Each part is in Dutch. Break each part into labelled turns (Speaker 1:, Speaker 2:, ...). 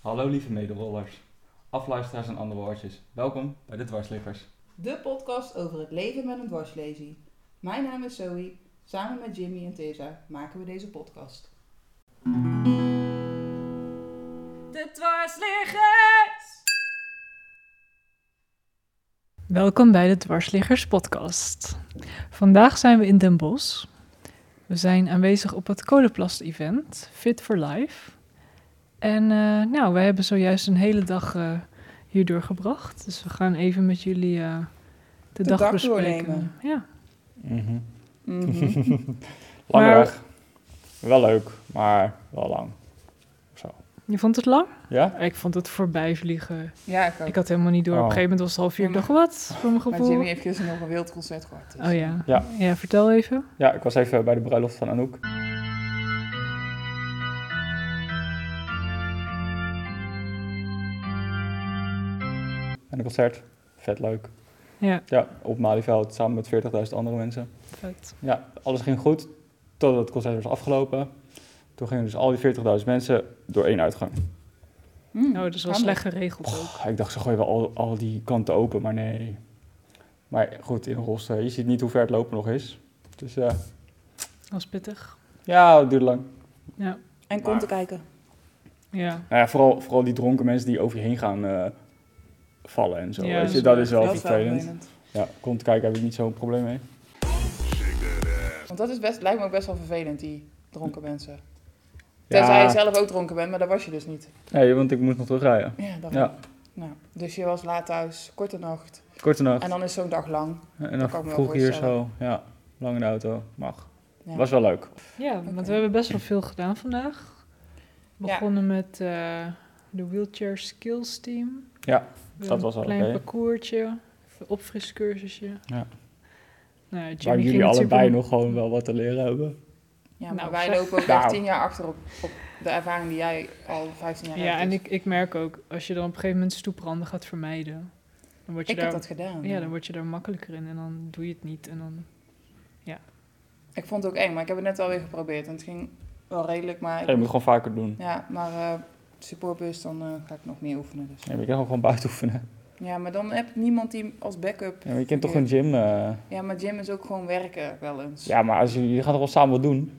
Speaker 1: Hallo lieve medewollers, afluisteraars en andere woordjes. Welkom bij de Dwarsliggers.
Speaker 2: De podcast over het leven met een dwarslesie. Mijn naam is Zoe. Samen met Jimmy en Tessa maken we deze podcast.
Speaker 3: De dwarsliggers!
Speaker 4: Welkom bij de Dwarsliggers podcast. Vandaag zijn we in Den Bosch. We zijn aanwezig op het Kolenplast-event, Fit for Life. En eh, nou, wij hebben zojuist een hele dag eh, hier doorgebracht. Dus we gaan even met jullie eh, de,
Speaker 2: De
Speaker 4: dag,
Speaker 2: dag
Speaker 4: bespreken.
Speaker 2: doornemen.
Speaker 4: Ja.
Speaker 2: Mhm.
Speaker 5: Lange
Speaker 4: Maar-
Speaker 5: Mhm. weg. Wel leuk, maar wel lang. Zo.
Speaker 4: Je vond het lang?
Speaker 5: Ja?
Speaker 4: Ik vond het voorbij vliegen.
Speaker 2: Ja, ik ook.
Speaker 4: Ik had helemaal niet door. Op
Speaker 5: Oh.
Speaker 4: een gegeven moment was het half vier. Ik dacht, wat? Voor mijn
Speaker 2: maar
Speaker 4: gevoel.
Speaker 2: Jimmy heeft gisteren nog een wild concert gehad. dus-
Speaker 4: Oh ja.
Speaker 5: Ja.
Speaker 4: Ja, vertel even.
Speaker 5: Ja, ik was even bij de bruiloft van Anouk. En een concert. Vet leuk.
Speaker 4: Ja,
Speaker 5: Ja, op Malieveld samen met 40.000 andere mensen.
Speaker 4: perfect.
Speaker 5: Ja, alles ging goed totdat het concert was afgelopen. Toen gingen dus al die 40.000 mensen door één uitgang.
Speaker 2: Hmm,
Speaker 4: Nou, dat is wel
Speaker 2: handig.
Speaker 4: slecht geregeld ook.
Speaker 5: Och, Oh, ik dacht, ze gooien wel al, al die kanten open, maar nee. Maar goed, in Rossen, je ziet niet hoe ver het lopen nog is. Dus eh,
Speaker 4: Dat was pittig.
Speaker 5: ja, het duurde lang.
Speaker 4: Ja.
Speaker 2: En kom te kijken.
Speaker 4: Ja.
Speaker 5: Nou ja, vooral, vooral die dronken mensen die over je heen gaan eh, vallen en zo.
Speaker 4: Ja,
Speaker 5: weet
Speaker 4: dat
Speaker 5: je,
Speaker 4: is
Speaker 5: dat is wel
Speaker 2: dat is wel
Speaker 5: vervelend.
Speaker 2: vervelend.
Speaker 5: Ja, komt kijken, heb ik niet zo'n probleem mee.
Speaker 2: Want dat is best, lijkt me ook best wel vervelend, die dronken mensen. Tenzij je
Speaker 5: Ja,
Speaker 2: zelf ook dronken bent, maar dat was je dus niet.
Speaker 5: nee, want ik moest nog terugrijden.
Speaker 2: Ja, dat
Speaker 5: Ja,
Speaker 2: Nou, dus je was laat thuis, korte nacht.
Speaker 5: korte nacht.
Speaker 2: En dan is zo'n dag lang.
Speaker 5: En
Speaker 2: dat
Speaker 5: dan
Speaker 2: kan ik me wel
Speaker 5: vroeg hier
Speaker 2: voorstellen.
Speaker 5: zo, ja, lang in de auto. Mag.
Speaker 2: Ja.
Speaker 5: Was wel leuk.
Speaker 4: Ja,
Speaker 2: Oké.
Speaker 4: want we hebben best wel veel gedaan vandaag. We
Speaker 2: Ja.
Speaker 4: begonnen met eh, de Wheelchair Skills Team.
Speaker 5: Ja,
Speaker 4: Weer
Speaker 5: dat was al
Speaker 4: Een klein
Speaker 5: oké.
Speaker 4: parcoursje, even opfriscursusje.
Speaker 5: Ja.
Speaker 4: Nou, ja, Jimmy
Speaker 5: Waar
Speaker 4: ging
Speaker 5: jullie
Speaker 4: het
Speaker 5: allebei
Speaker 4: super-
Speaker 5: nog gewoon wel wat te leren hebben.
Speaker 2: Ja, maar
Speaker 4: Nou,
Speaker 2: wij
Speaker 4: zeg.
Speaker 2: lopen ook
Speaker 5: Nou.
Speaker 2: echt tien jaar achter op, op de ervaring die jij al 15 jaar hebt.
Speaker 4: Ja, en
Speaker 2: dus
Speaker 4: ik, ik merk ook, als je dan op een gegeven moment stoepranden gaat vermijden, dan word je,
Speaker 2: ik
Speaker 4: daar,
Speaker 2: heb dat gedaan.
Speaker 4: ja, dan word je daar makkelijker in en dan doe je het niet. En dan,
Speaker 2: Ik vond het ook eng, maar ik heb het net alweer geprobeerd. En het ging wel redelijk, maar... ik-
Speaker 5: Ja, je moet gewoon vaker doen.
Speaker 2: Ja, maar eh, supportbus, dan eh, ga ik nog meer oefenen. Dus.
Speaker 5: Ja, maar je kan gewoon buiten oefenen.
Speaker 2: Ja, maar dan heb ik niemand die als backup...
Speaker 5: Ja, maar je kent toch een gym? eh,
Speaker 2: Ja, maar Jim is ook gewoon werken wel eens.
Speaker 5: Ja, maar als jullie, jullie gaan toch wel samen wat doen?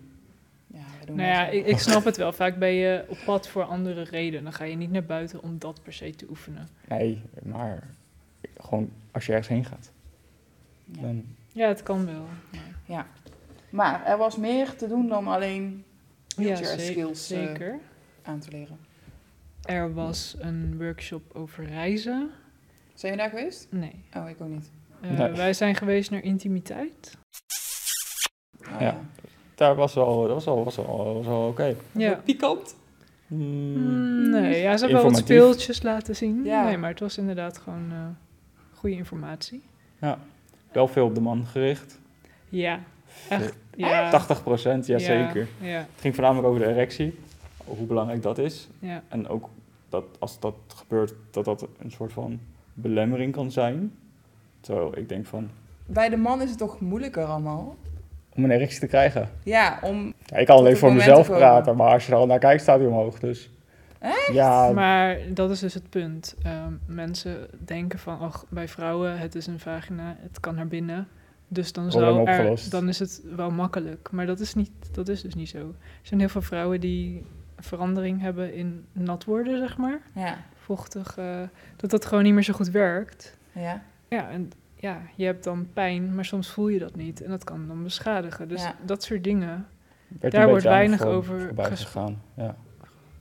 Speaker 2: Ja, we doen
Speaker 4: nou
Speaker 2: wel
Speaker 4: ja,
Speaker 2: zo.
Speaker 4: ik, ik snap het wel. Vaak ben je op pad voor andere redenen. Dan ga je niet naar buiten om dat per se te oefenen.
Speaker 5: Nee, maar gewoon als je ergens heen gaat.
Speaker 2: Ja.
Speaker 5: Dan,
Speaker 4: Ja, het kan wel. maar-
Speaker 2: Maar er was meer te doen dan alleen wheelchair
Speaker 4: ze-
Speaker 2: skills eh,
Speaker 4: Zeker.
Speaker 2: aan te leren.
Speaker 4: Er was een workshop over reizen.
Speaker 2: Zijn je daar geweest?
Speaker 4: Nee.
Speaker 2: Oh, ik ook niet.
Speaker 4: Eh,
Speaker 5: Nee.
Speaker 4: Wij zijn geweest naar intimiteit.
Speaker 2: Oh,
Speaker 5: Ja. daar was wel, dat was wel, was wel, was wel oké.
Speaker 4: Ja.
Speaker 2: Pikant.
Speaker 5: Mm,
Speaker 2: Hmm.
Speaker 4: Mm, Nee, ja, ze hebben wel wat
Speaker 5: Informatief.
Speaker 4: speeltjes laten zien.
Speaker 2: Ja.
Speaker 4: Nee, maar het was inderdaad gewoon eh, goede informatie.
Speaker 5: Wel veel op de man gericht.
Speaker 4: Ja, echt. Ja,
Speaker 5: 80 procent,
Speaker 4: Ja,
Speaker 5: jazeker.
Speaker 4: Ja,
Speaker 5: Het ging voornamelijk over de erectie. Hoe belangrijk dat is.
Speaker 4: ja,
Speaker 5: En ook dat als dat gebeurt, dat dat een soort van belemmering kan zijn. Terwijl ik denk van,
Speaker 2: Bij de man is het toch moeilijker allemaal?
Speaker 5: om een erectie te krijgen.
Speaker 2: Ja, om...
Speaker 5: Ja, ik kan
Speaker 2: Tot
Speaker 5: alleen
Speaker 2: het
Speaker 5: voor
Speaker 2: moment
Speaker 5: mezelf
Speaker 2: te komen.
Speaker 5: praten, maar als je er al naar kijkt, staat hij omhoog. Dus. Ja,
Speaker 4: Maar dat is dus het punt. Ehm, mensen denken van, ach, bij vrouwen, het is een vagina, het kan naar binnen. Dus dan,
Speaker 5: Probleem
Speaker 4: zou er,
Speaker 5: opgelost.
Speaker 4: dan is het wel makkelijk. Maar dat is, niet, dat is dus niet zo. Er zijn heel veel vrouwen die verandering hebben in nat worden, zeg maar.
Speaker 2: Ja,
Speaker 4: Vochtig, eh, dat dat gewoon niet meer zo goed werkt.
Speaker 2: ja.
Speaker 4: Ja, en ja, je hebt dan pijn, maar soms voel je dat niet. En dat kan dan beschadigen. Dus
Speaker 2: Ja.
Speaker 4: dat soort dingen.
Speaker 5: werd een
Speaker 4: daar
Speaker 5: beetje
Speaker 4: wordt
Speaker 5: aan
Speaker 4: weinig
Speaker 5: voor-
Speaker 4: over
Speaker 5: voorbij
Speaker 4: gesproken.
Speaker 5: gegaan. Ja.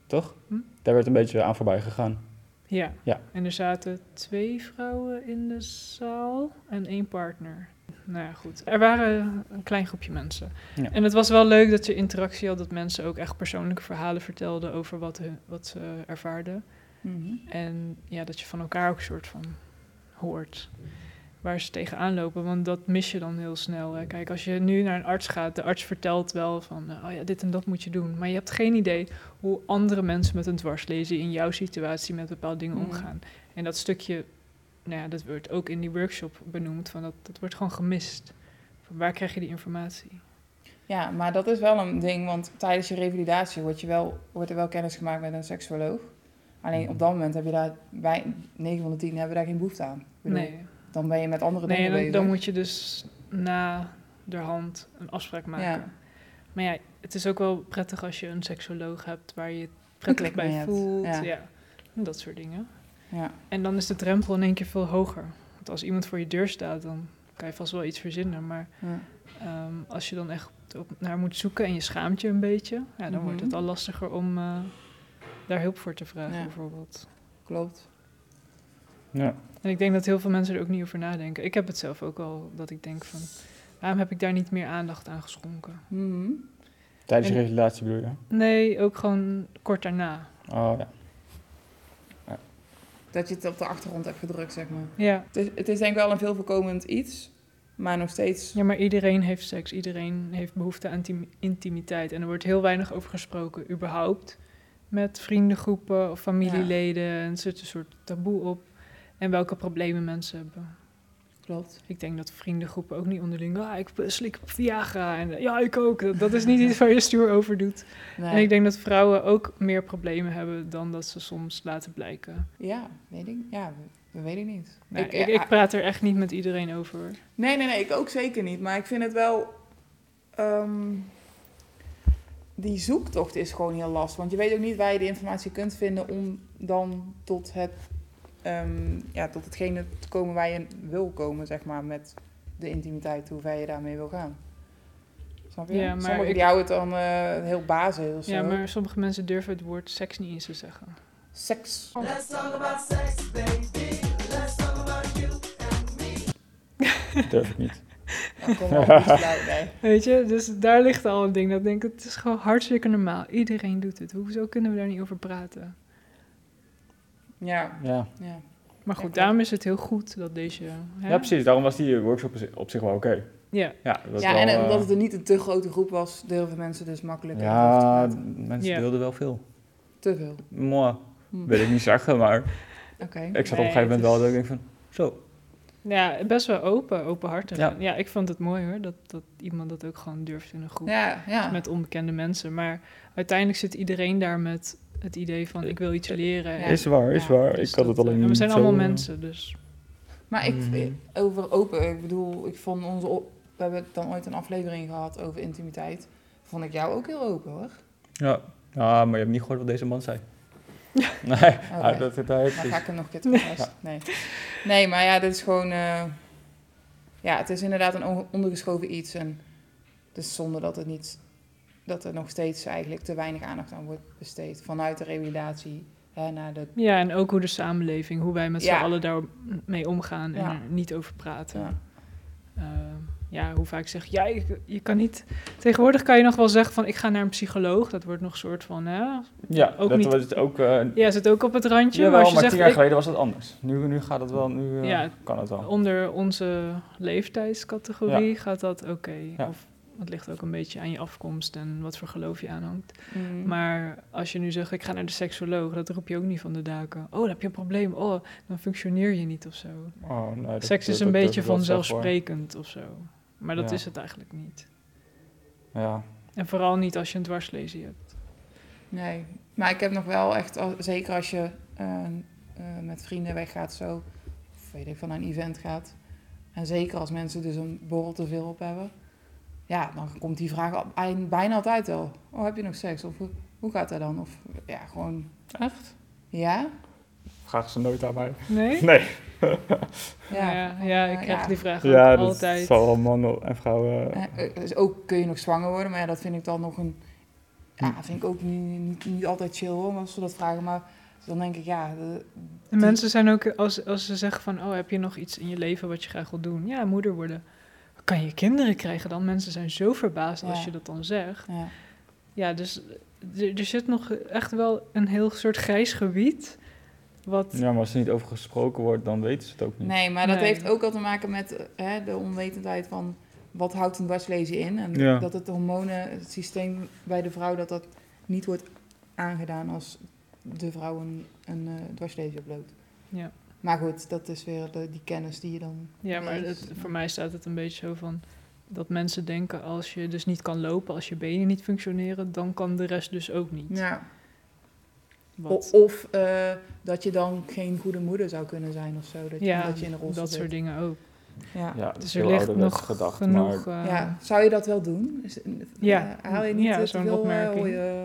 Speaker 5: Toch?
Speaker 4: Hm?
Speaker 5: Daar werd een beetje aan voorbij gegaan.
Speaker 4: Ja.
Speaker 5: Ja.
Speaker 4: En er zaten twee vrouwen in de zaal en één partner. Nou ja, goed. Er waren een klein groepje mensen.
Speaker 5: Ja.
Speaker 4: En het was wel leuk dat je interactie had, dat mensen ook echt persoonlijke verhalen vertelden over wat, hun, wat ze ervaarden.
Speaker 2: Mhm.
Speaker 4: En ja, dat je van elkaar ook een soort van hoort waar ze tegenaan lopen. Want dat mis je dan heel snel. Hè. Kijk, als je nu naar een arts gaat, de arts vertelt wel van... eh, oh ja, dit en dat moet je doen. Maar je hebt geen idee hoe andere mensen met een dwarslezen... in jouw situatie met bepaalde dingen
Speaker 2: Mhm.
Speaker 4: omgaan. En dat stukje, nou ja, dat wordt ook in die workshop benoemd... Van dat, dat wordt gewoon gemist. Van waar krijg je die informatie?
Speaker 2: Ja, maar dat is wel een ding, want tijdens je revalidatie wordt, je wel, wordt er wel kennis gemaakt met een seksuoloog. Alleen op dat moment heb je daar, wij, 9 van de 10 hebben daar geen behoefte aan. Ik bedoel,
Speaker 4: Nee,
Speaker 2: Dan ben je met andere
Speaker 4: nee
Speaker 2: dingen
Speaker 4: dan,
Speaker 2: bezig.
Speaker 4: dan moet je dus na de hand een afspraak maken.
Speaker 2: Ja.
Speaker 4: Maar ja, het is ook wel prettig als je een seksoloog hebt waar je het
Speaker 2: klik
Speaker 4: prettig
Speaker 2: mee
Speaker 4: bij
Speaker 2: hebt,
Speaker 4: voelt.
Speaker 2: ja.
Speaker 4: Ja. dat soort dingen.
Speaker 2: Ja.
Speaker 4: En dan is de drempel in één keer veel hoger. Want als iemand voor je deur staat, dan kan je vast wel iets verzinnen. Maar
Speaker 2: Ja.
Speaker 4: ehm, als je dan echt op, naar moet zoeken en je schaamt je een beetje, ja, dan
Speaker 2: Mhm.
Speaker 4: wordt het al lastiger om eh, daar hulp voor te vragen,
Speaker 2: Ja.
Speaker 4: bijvoorbeeld.
Speaker 2: Klopt.
Speaker 5: Ja.
Speaker 4: En ik denk dat heel veel mensen er ook niet over nadenken. Ik heb het zelf ook al, dat ik denk van, waarom heb ik daar niet meer aandacht aan geschonken?
Speaker 2: Mhm.
Speaker 5: Tijdens je
Speaker 4: En-
Speaker 5: relatie bedoel je?
Speaker 4: Nee, ook gewoon kort daarna.
Speaker 5: Oh ja.
Speaker 2: Dat je het op de achtergrond hebt gedrukt, zeg maar.
Speaker 4: Ja.
Speaker 2: Het is, het is denk ik wel een veel voorkomend iets, maar nog steeds.
Speaker 4: Ja, maar iedereen heeft seks. Iedereen heeft behoefte aan intiem- intimiteit. En er wordt heel weinig over gesproken, überhaupt. Met vriendengroepen of familieleden. En er zit een soort taboe op. En welke problemen mensen hebben.
Speaker 2: Klopt.
Speaker 4: Ik denk dat vriendengroepen ook niet onderling... Ah, ik slik Viagra. En, eh, ja, ik ook. Dat, dat is niet iets waar je stoer over doet.
Speaker 2: Nou,
Speaker 4: En ik denk dat vrouwen ook meer problemen hebben... dan dat ze soms laten blijken.
Speaker 2: Ja, weet ik. Ja, we- we weten niet.
Speaker 4: Nou,
Speaker 2: Ik- eh, ah,
Speaker 4: ik, ik, praat er echt niet met iedereen over.
Speaker 2: Nee, nee, nee, ik ook zeker niet. Maar ik vind het wel. ehm, die zoektocht is gewoon heel lastig. Want je weet ook niet waar je de informatie kunt vinden om dan tot, het, ehm, ja, tot hetgene te komen waar je wil komen, zeg maar, met de intimiteit, hoe ver je daarmee wil gaan. Snap je?
Speaker 4: Ja, maar
Speaker 2: Sommigen
Speaker 4: ik-
Speaker 2: die houden het dan eh, heel basis of zo.
Speaker 4: Ja, maar sommige mensen durven het woord seks niet eens te zeggen.
Speaker 2: Seks.
Speaker 5: Durf ik niet.
Speaker 2: Ja, kom op, niet blij, nee.
Speaker 4: Weet je, dus daar ligt al een ding. Dat ik denk ik, het is gewoon hartstikke normaal. Iedereen doet het. Hoezo kunnen we daar niet over praten?
Speaker 2: Ja,
Speaker 5: Ja.
Speaker 2: ja.
Speaker 4: Maar
Speaker 2: klopt.
Speaker 4: goed, daarom is het heel goed dat deze... Hè?
Speaker 5: ja, precies. Daarom was die workshop op zich- op zich wel oké.
Speaker 4: Ja,
Speaker 5: Ja, dat was
Speaker 2: ja
Speaker 5: wel,
Speaker 2: en
Speaker 5: eh,
Speaker 2: omdat het er niet een te grote groep was, durven mensen dus makkelijk
Speaker 5: ja,
Speaker 2: over te praten.
Speaker 5: mensen
Speaker 4: Ja.
Speaker 5: wilden wel veel.
Speaker 2: Te veel.
Speaker 5: Mooi.
Speaker 2: Hm.
Speaker 5: Wil ik niet zeggen, maar
Speaker 2: Oké.
Speaker 5: ik zat op
Speaker 4: Nee,
Speaker 5: een gegeven moment
Speaker 4: het
Speaker 5: wel
Speaker 4: is-
Speaker 5: dat ik denk van, zo.
Speaker 4: ja best wel open, openhartig.
Speaker 5: Ja.
Speaker 4: Ja. ja, ik vond het mooi hoor, dat, dat iemand dat ook gewoon durft in een groep.
Speaker 2: Ja, ja.
Speaker 4: Met onbekende mensen. Maar uiteindelijk zit iedereen daar met het idee van, ik wil iets leren.
Speaker 2: Ja.
Speaker 5: Is waar, is
Speaker 2: Ja,
Speaker 5: waar.
Speaker 4: Dus
Speaker 5: ik had
Speaker 4: dat,
Speaker 5: het alleen
Speaker 4: eh, en We zijn
Speaker 5: zo,
Speaker 4: allemaal
Speaker 5: eh,
Speaker 4: mensen, dus...
Speaker 2: Maar ik,
Speaker 5: Mm.
Speaker 2: over open, ik bedoel, ik vond onze, op- we hebben dan ooit een aflevering gehad over intimiteit. Vond ik jou ook heel open hoor.
Speaker 5: Ja. ja, Ah, maar je hebt niet gehoord wat deze man zei. Nee, ja, dat, dat, dat,
Speaker 2: Oh, Maar ga ik hem nog een keer
Speaker 4: Nee.
Speaker 2: terugluisteren? Nee. nee, maar ja, dit is gewoon, eh, ja, het is inderdaad een on- ondergeschoven iets. En dus zonder dat het niet, dat er nog steeds eigenlijk te weinig aandacht aan wordt besteed. Vanuit de revalidatie hè, naar de,
Speaker 4: Ja, en ook hoe de samenleving, hoe wij met
Speaker 2: Ja.
Speaker 4: z'n allen daarmee omgaan en
Speaker 2: Ja.
Speaker 4: er niet over praten.
Speaker 2: Ja.
Speaker 4: Ja. Eh, ja, hoe vaak zeg jij, je, je kan niet... Tegenwoordig kan je nog wel zeggen van, ik ga naar een psycholoog. Dat wordt nog een soort van, hè?
Speaker 5: ja,
Speaker 4: Ook
Speaker 5: dat
Speaker 4: niet-
Speaker 5: was het ook... eh
Speaker 4: Ja, zit ook op het randje.
Speaker 5: jawel,
Speaker 4: maar als
Speaker 5: maar
Speaker 4: je
Speaker 5: tien jaar
Speaker 4: zegt, ik-
Speaker 5: geleden was dat anders. Nu, nu gaat het wel, nu eh,
Speaker 4: Ja.
Speaker 5: kan het wel.
Speaker 4: onder onze leeftijdscategorie gaat dat oké.
Speaker 5: Ja.
Speaker 4: Of het ligt ook een beetje aan je afkomst en wat voor geloof je aanhangt.
Speaker 2: Mm.
Speaker 4: Maar als je nu zegt, ik ga naar de seksoloog, dat roep je ook niet van de daken. Oh, dan heb je een probleem. Oh, dan functioneer je niet of zo.
Speaker 5: Oh, nee, dat-
Speaker 4: Seks is
Speaker 5: dat-
Speaker 4: een
Speaker 5: dat-
Speaker 4: beetje
Speaker 5: dat- dat is wel voor-
Speaker 4: vanzelfsprekend of zo. Maar dat
Speaker 5: Ja.
Speaker 4: is het eigenlijk niet.
Speaker 5: Ja,
Speaker 4: En vooral niet als je een dwarslesie hebt.
Speaker 2: Nee, maar ik heb nog wel echt, al- zeker als je eh, eh, met vrienden weggaat zo, of weet ik, van een event gaat. En zeker als mensen dus een borrel te veel op hebben. Ja, dan komt die vraag al- eind- bijna altijd wel. Oh, heb je nog seks? Of hoe- hoe gaat dat dan? Of ja, gewoon... Echt? Ja?
Speaker 5: vraag ze nooit aan mij.
Speaker 4: Nee?
Speaker 5: Nee.
Speaker 4: Ja, ja, ik
Speaker 2: Eh,
Speaker 4: krijg
Speaker 2: ja.
Speaker 4: die vraag
Speaker 5: Ja,
Speaker 4: ook
Speaker 5: dat
Speaker 4: altijd.
Speaker 5: zal wel mannen en vrouwen...
Speaker 2: Eh, eh, dus ook kun je nog zwanger worden, maar ja, dat vind ik dan nog een... Ja, dat vind ik ook niet, niet, niet altijd chill hoor, als ze dat vragen. Maar dan denk ik, ja... de-
Speaker 4: En mensen zijn ook, als, als ze zeggen van, oh, heb je nog iets in je leven wat je graag wil doen? Ja, moeder worden. Kan je kinderen krijgen dan? Mensen zijn zo verbaasd
Speaker 2: Ja.
Speaker 4: als je dat dan zegt.
Speaker 2: ja.
Speaker 4: Ja, dus er er zit nog echt wel een heel soort grijs gebied. Wat,
Speaker 5: Ja, maar als er niet over gesproken wordt, dan weten ze het ook niet.
Speaker 2: Nee, maar dat
Speaker 4: Nee.
Speaker 2: heeft ook al te maken met eh, hè, de onwetendheid van wat houdt een dwarslezen in. En
Speaker 5: Ja.
Speaker 2: dat het hormonen, het systeem bij de vrouw, dat dat niet wordt aangedaan als de vrouw een, een eh dwarslezen oploopt.
Speaker 4: Ja.
Speaker 2: Maar goed, dat is weer de, die kennis die je dan...
Speaker 4: Ja, maar
Speaker 2: leest.
Speaker 4: het, voor mij staat het een beetje zo van dat mensen denken als je dus niet kan lopen, als je benen niet functioneren, dan kan de rest dus ook niet.
Speaker 2: Ja,
Speaker 4: Wat.
Speaker 2: O- of eh, dat je dan geen goede moeder zou kunnen zijn of zo. Dat,
Speaker 4: ja,
Speaker 2: dat je in een rol
Speaker 4: dat soort dingen ook.
Speaker 2: Ja.
Speaker 5: Ja, dat is
Speaker 4: Dus
Speaker 5: heel
Speaker 4: er ligt
Speaker 5: ouderwets
Speaker 4: nog
Speaker 5: gedacht, maar
Speaker 4: genoeg... eh,
Speaker 2: ja, zou je dat wel doen? Is-
Speaker 4: Ja.
Speaker 2: eh, haal je niet
Speaker 4: Ja,
Speaker 2: eh, te
Speaker 4: zo'n
Speaker 2: veel eh,
Speaker 4: opmerking.
Speaker 2: hooi, eh,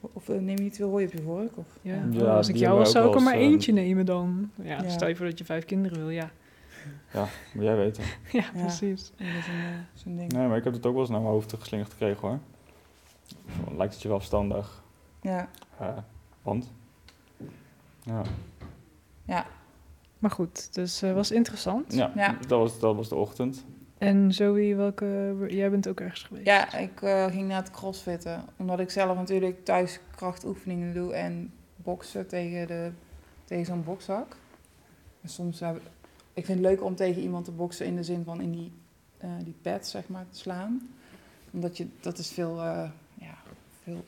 Speaker 2: of eh, neem je niet te veel hooi op je vork? Of,
Speaker 4: ja.
Speaker 2: ja.
Speaker 5: Ja,
Speaker 4: als ik
Speaker 5: die hebben
Speaker 4: jou
Speaker 5: we
Speaker 4: was,
Speaker 5: ook
Speaker 4: zou ik
Speaker 5: wel
Speaker 4: er maar
Speaker 5: eens, eh,
Speaker 4: eentje nemen dan. Ja,
Speaker 2: Ja.
Speaker 4: stel je voor dat je vijf kinderen wil, ja.
Speaker 5: ja, moet jij weten.
Speaker 4: ja, precies.
Speaker 2: Dat is een, eh, zo'n ding.
Speaker 5: Nee, maar ik heb het ook wel eens naar mijn hoofd geslingerd gekregen hoor. Van, Lijkt het je wel verstandig?
Speaker 2: Ja.
Speaker 5: Eh, want? Ja,
Speaker 4: Maar goed, dus eh, was interessant.
Speaker 5: ja,
Speaker 2: Ja.
Speaker 5: Dat, was, dat was de ochtend.
Speaker 4: En Zoe, welke, jij bent ook ergens geweest.
Speaker 2: Ja, ik eh, ging naar het crossfitten. Omdat ik zelf natuurlijk thuis krachtoefeningen doe en boksen tegen, de- tegen zo'n bokzak. En soms heb ik, ik vind het leuk om tegen iemand te boksen in de zin van in die, eh die pads, zeg maar, te slaan. Omdat je, dat is veel, eh, ja, veel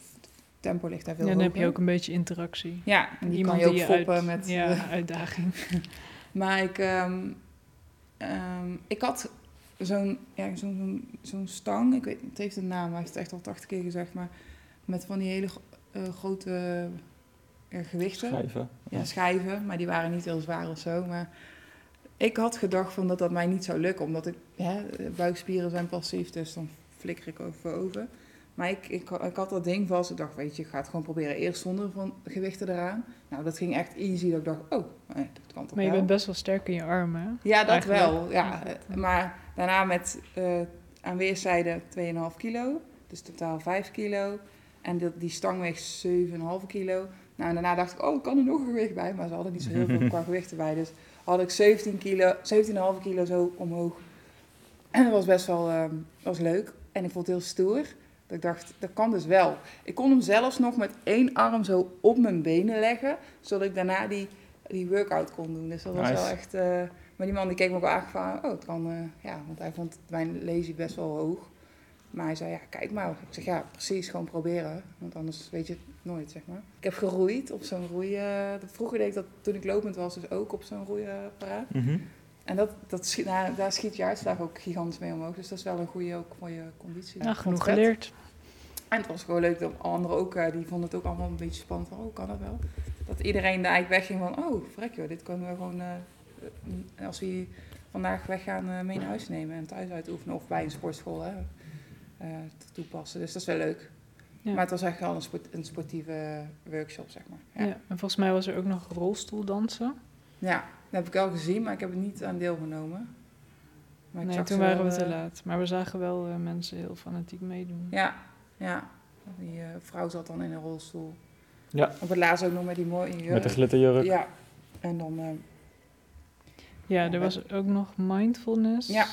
Speaker 2: tempo ligt daar
Speaker 4: Ja,
Speaker 2: veel
Speaker 4: dan heb je
Speaker 2: hoger.
Speaker 4: ook een beetje interactie.
Speaker 2: Ja, en die
Speaker 4: Iemand
Speaker 2: kan je ook
Speaker 4: uit-
Speaker 2: foppen met...
Speaker 4: Ja,
Speaker 2: eh,
Speaker 4: uitdaging.
Speaker 2: maar ik, ehm, ehm, ik had zo'n ja, zo'n zo'n- zo'n stang, ik weet, het heeft een naam, hij heeft het echt al 80 keer gezegd, maar met van die hele gro- eh, grote eh, gewichten.
Speaker 5: Schrijven.
Speaker 2: Ja, schijven, maar die waren niet heel zwaar of zo. Maar ik had gedacht van dat dat mij niet zou lukken, omdat ik, hè, buikspieren zijn passief, dus dan flikker ik over over. Maar ik, ik, ik had dat ding vast. Ik dacht, weet je, ik ga het gewoon proberen eerst zonder van gewichten eraan. Nou, dat ging echt easy. Dat ik dacht, oh, nee, dat kan toch
Speaker 4: Maar je
Speaker 2: wel.
Speaker 4: bent best wel sterk in je armen. hè?
Speaker 2: Ja, dat
Speaker 4: Eigenlijk.
Speaker 2: wel. Ja.
Speaker 4: Ja.
Speaker 2: Eh, Maar daarna met eh, aan weerszijden 2,5 kilo. Dus totaal 5 kilo. En dat, die stang weegt 7,5 kilo. Nou, en daarna dacht ik, oh, kan er nog een gewicht bij. Maar ze hadden niet zo heel veel qua gewicht erbij. Dus had ik 17 kilo, 17,5 kilo zo omhoog. En dat was best wel ehm, was leuk. En ik vond het heel stoer. Dat ik dacht, dat kan dus wel. Ik kon hem zelfs nog met één arm zo op mijn benen leggen. Zodat ik daarna die, die workout kon doen. Dus dat was
Speaker 5: Nice.
Speaker 2: wel echt... eh, maar die man die keek me ook wel aan van, oh, het kan, eh, ja, want hij vond mijn lazy best wel hoog. Maar hij zei, ja, kijk maar. Ik zeg, ja, precies, gewoon proberen. Want anders weet je het nooit, zeg maar. Ik heb geroeid op zo'n roeien... Vroeger deed ik dat toen ik lopend was, dus ook op zo'n roeiapparaat. En dat, dat schiet, nou, daar schiet je uitslag ook gigantisch mee omhoog. Dus dat is wel een goede ook voor je conditie.
Speaker 4: Nou,
Speaker 2: Ik vond het
Speaker 4: genoeg
Speaker 2: vet.
Speaker 4: geleerd.
Speaker 2: En het was gewoon leuk dat anderen ook, eh, die vonden het ook allemaal een beetje spannend. Van, oh, kan dat wel? Dat iedereen daar eigenlijk wegging van, oh, frek joh, dit kunnen we gewoon, eh, eh, als we hier vandaag weggaan, eh, mee naar huis nemen en thuis uitoefenen. Of bij een sportschool hè, eh, te- toepassen. Dus dat is wel leuk.
Speaker 4: Ja.
Speaker 2: Maar het was echt wel een, sport, een sportieve workshop, zeg maar.
Speaker 4: Ja.
Speaker 2: Ja.
Speaker 4: En volgens mij was er ook nog rolstoeldansen.
Speaker 2: Ja, dat heb ik al gezien, maar ik heb er niet aan deelgenomen. Maar ik
Speaker 4: Nee,
Speaker 2: zag
Speaker 4: toen
Speaker 2: ze wel,
Speaker 4: waren we te
Speaker 2: eh,
Speaker 4: laat. Maar we zagen wel eh, mensen heel fanatiek meedoen.
Speaker 2: Ja, ja. Die eh, vrouw zat dan in een rolstoel.
Speaker 5: Ja.
Speaker 2: Op het laatst ook nog met die mooie jurk.
Speaker 5: Met de glitterjurk.
Speaker 2: Ja. En dan, eh,
Speaker 4: Ja, er was ook nog mindfulness.
Speaker 2: Ja.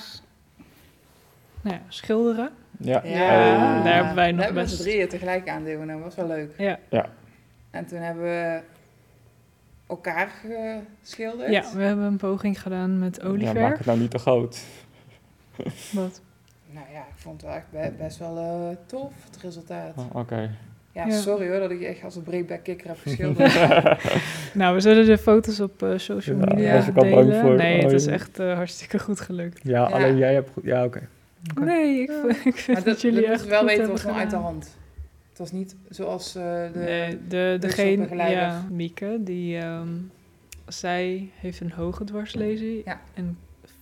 Speaker 4: Nou ja, schilderen.
Speaker 5: Ja.
Speaker 2: ja,
Speaker 5: Hey.
Speaker 4: daar hebben wij nog
Speaker 2: Daar hebben we met
Speaker 4: best-
Speaker 2: z'n drieën tegelijk aan deelgenomen. was wel leuk.
Speaker 4: Ja.
Speaker 5: Ja.
Speaker 2: En toen hebben we elkaar geschilderd.
Speaker 4: Ja, we hebben een poging gedaan met
Speaker 5: Ja,
Speaker 4: olieverf.
Speaker 5: maak het nou niet te groot.
Speaker 4: Wat?
Speaker 2: Nou ja, ik vond het echt be- best wel eh, tof, het resultaat.
Speaker 5: Oh, Oké.
Speaker 2: Ja,
Speaker 4: Ja.
Speaker 2: sorry hoor, dat ik je echt als een breakback kikker heb geschilderd.
Speaker 4: Nou, we zullen de foto's op eh, social
Speaker 5: Ja,
Speaker 4: media
Speaker 2: daar was
Speaker 5: ik al bang
Speaker 4: delen.
Speaker 5: voor.
Speaker 4: Nee, het
Speaker 5: Oh,
Speaker 4: is
Speaker 5: joh.
Speaker 4: echt eh, hartstikke goed gelukt.
Speaker 5: Ja,
Speaker 2: Ja. alleen
Speaker 5: jij hebt goed. Ja, oké.
Speaker 4: Nee, ik, vo- ik vind
Speaker 2: maar
Speaker 4: dat,
Speaker 2: dat,
Speaker 4: jullie
Speaker 2: dat
Speaker 4: echt
Speaker 2: moeten we wel
Speaker 4: goed
Speaker 2: weten,
Speaker 4: hebben
Speaker 2: was gewoon uit de
Speaker 4: gedaan.
Speaker 2: hand. Het was niet zoals eh, de...
Speaker 4: nee, de, degene,
Speaker 2: workshopbegeleider.
Speaker 4: ja, Mieke, die, ehm, zij heeft een hoge dwarslesie
Speaker 2: Ja.
Speaker 4: en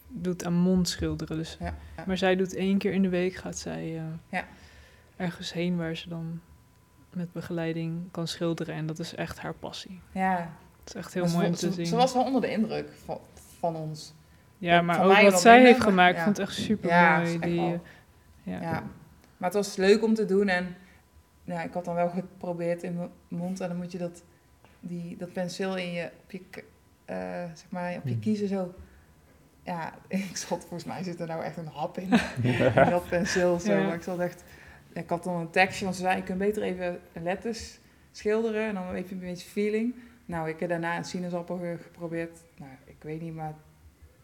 Speaker 4: doet aan mondschilderen. Dus.
Speaker 2: Ja, ja.
Speaker 4: Maar zij doet één keer in de week, gaat zij eh,
Speaker 2: Ja.
Speaker 4: ergens heen waar ze dan met begeleiding kan schilderen. En dat is echt haar passie.
Speaker 2: Ja,
Speaker 4: Het is echt heel
Speaker 2: Maar ze
Speaker 4: mooi om
Speaker 2: vo-
Speaker 4: te
Speaker 2: ze,
Speaker 4: zien.
Speaker 2: Ze was wel onder de indruk van, van ons.
Speaker 4: ja, maar
Speaker 2: van
Speaker 4: ook
Speaker 2: mij
Speaker 4: wat
Speaker 2: wat
Speaker 4: zij
Speaker 2: minder,
Speaker 4: heeft
Speaker 2: maar-
Speaker 4: gemaakt,
Speaker 2: ja.
Speaker 4: vond ik echt super
Speaker 2: Ja, het
Speaker 4: mooi.
Speaker 2: is echt
Speaker 4: die,
Speaker 2: wel-
Speaker 4: eh,
Speaker 2: Ja.
Speaker 4: ja.
Speaker 2: Maar het was leuk om te doen en nou, ik had dan wel geprobeerd in mijn mond. En dan moet je dat, die, dat penseel in je, op je, k- eh, zeg maar, op je
Speaker 5: Hm.
Speaker 2: kiezen zo... Ja, ik zat, volgens mij zit er nou echt een hap in, in dat penseel. Zo.
Speaker 4: Ja.
Speaker 2: Maar ik zat echt... Ik had dan een tekstje, want ze zei, je kunt beter even letters schilderen. En dan even een beetje feeling. Nou, ik heb daarna een sinaasappel ge- geprobeerd. Nou, ik weet niet, maar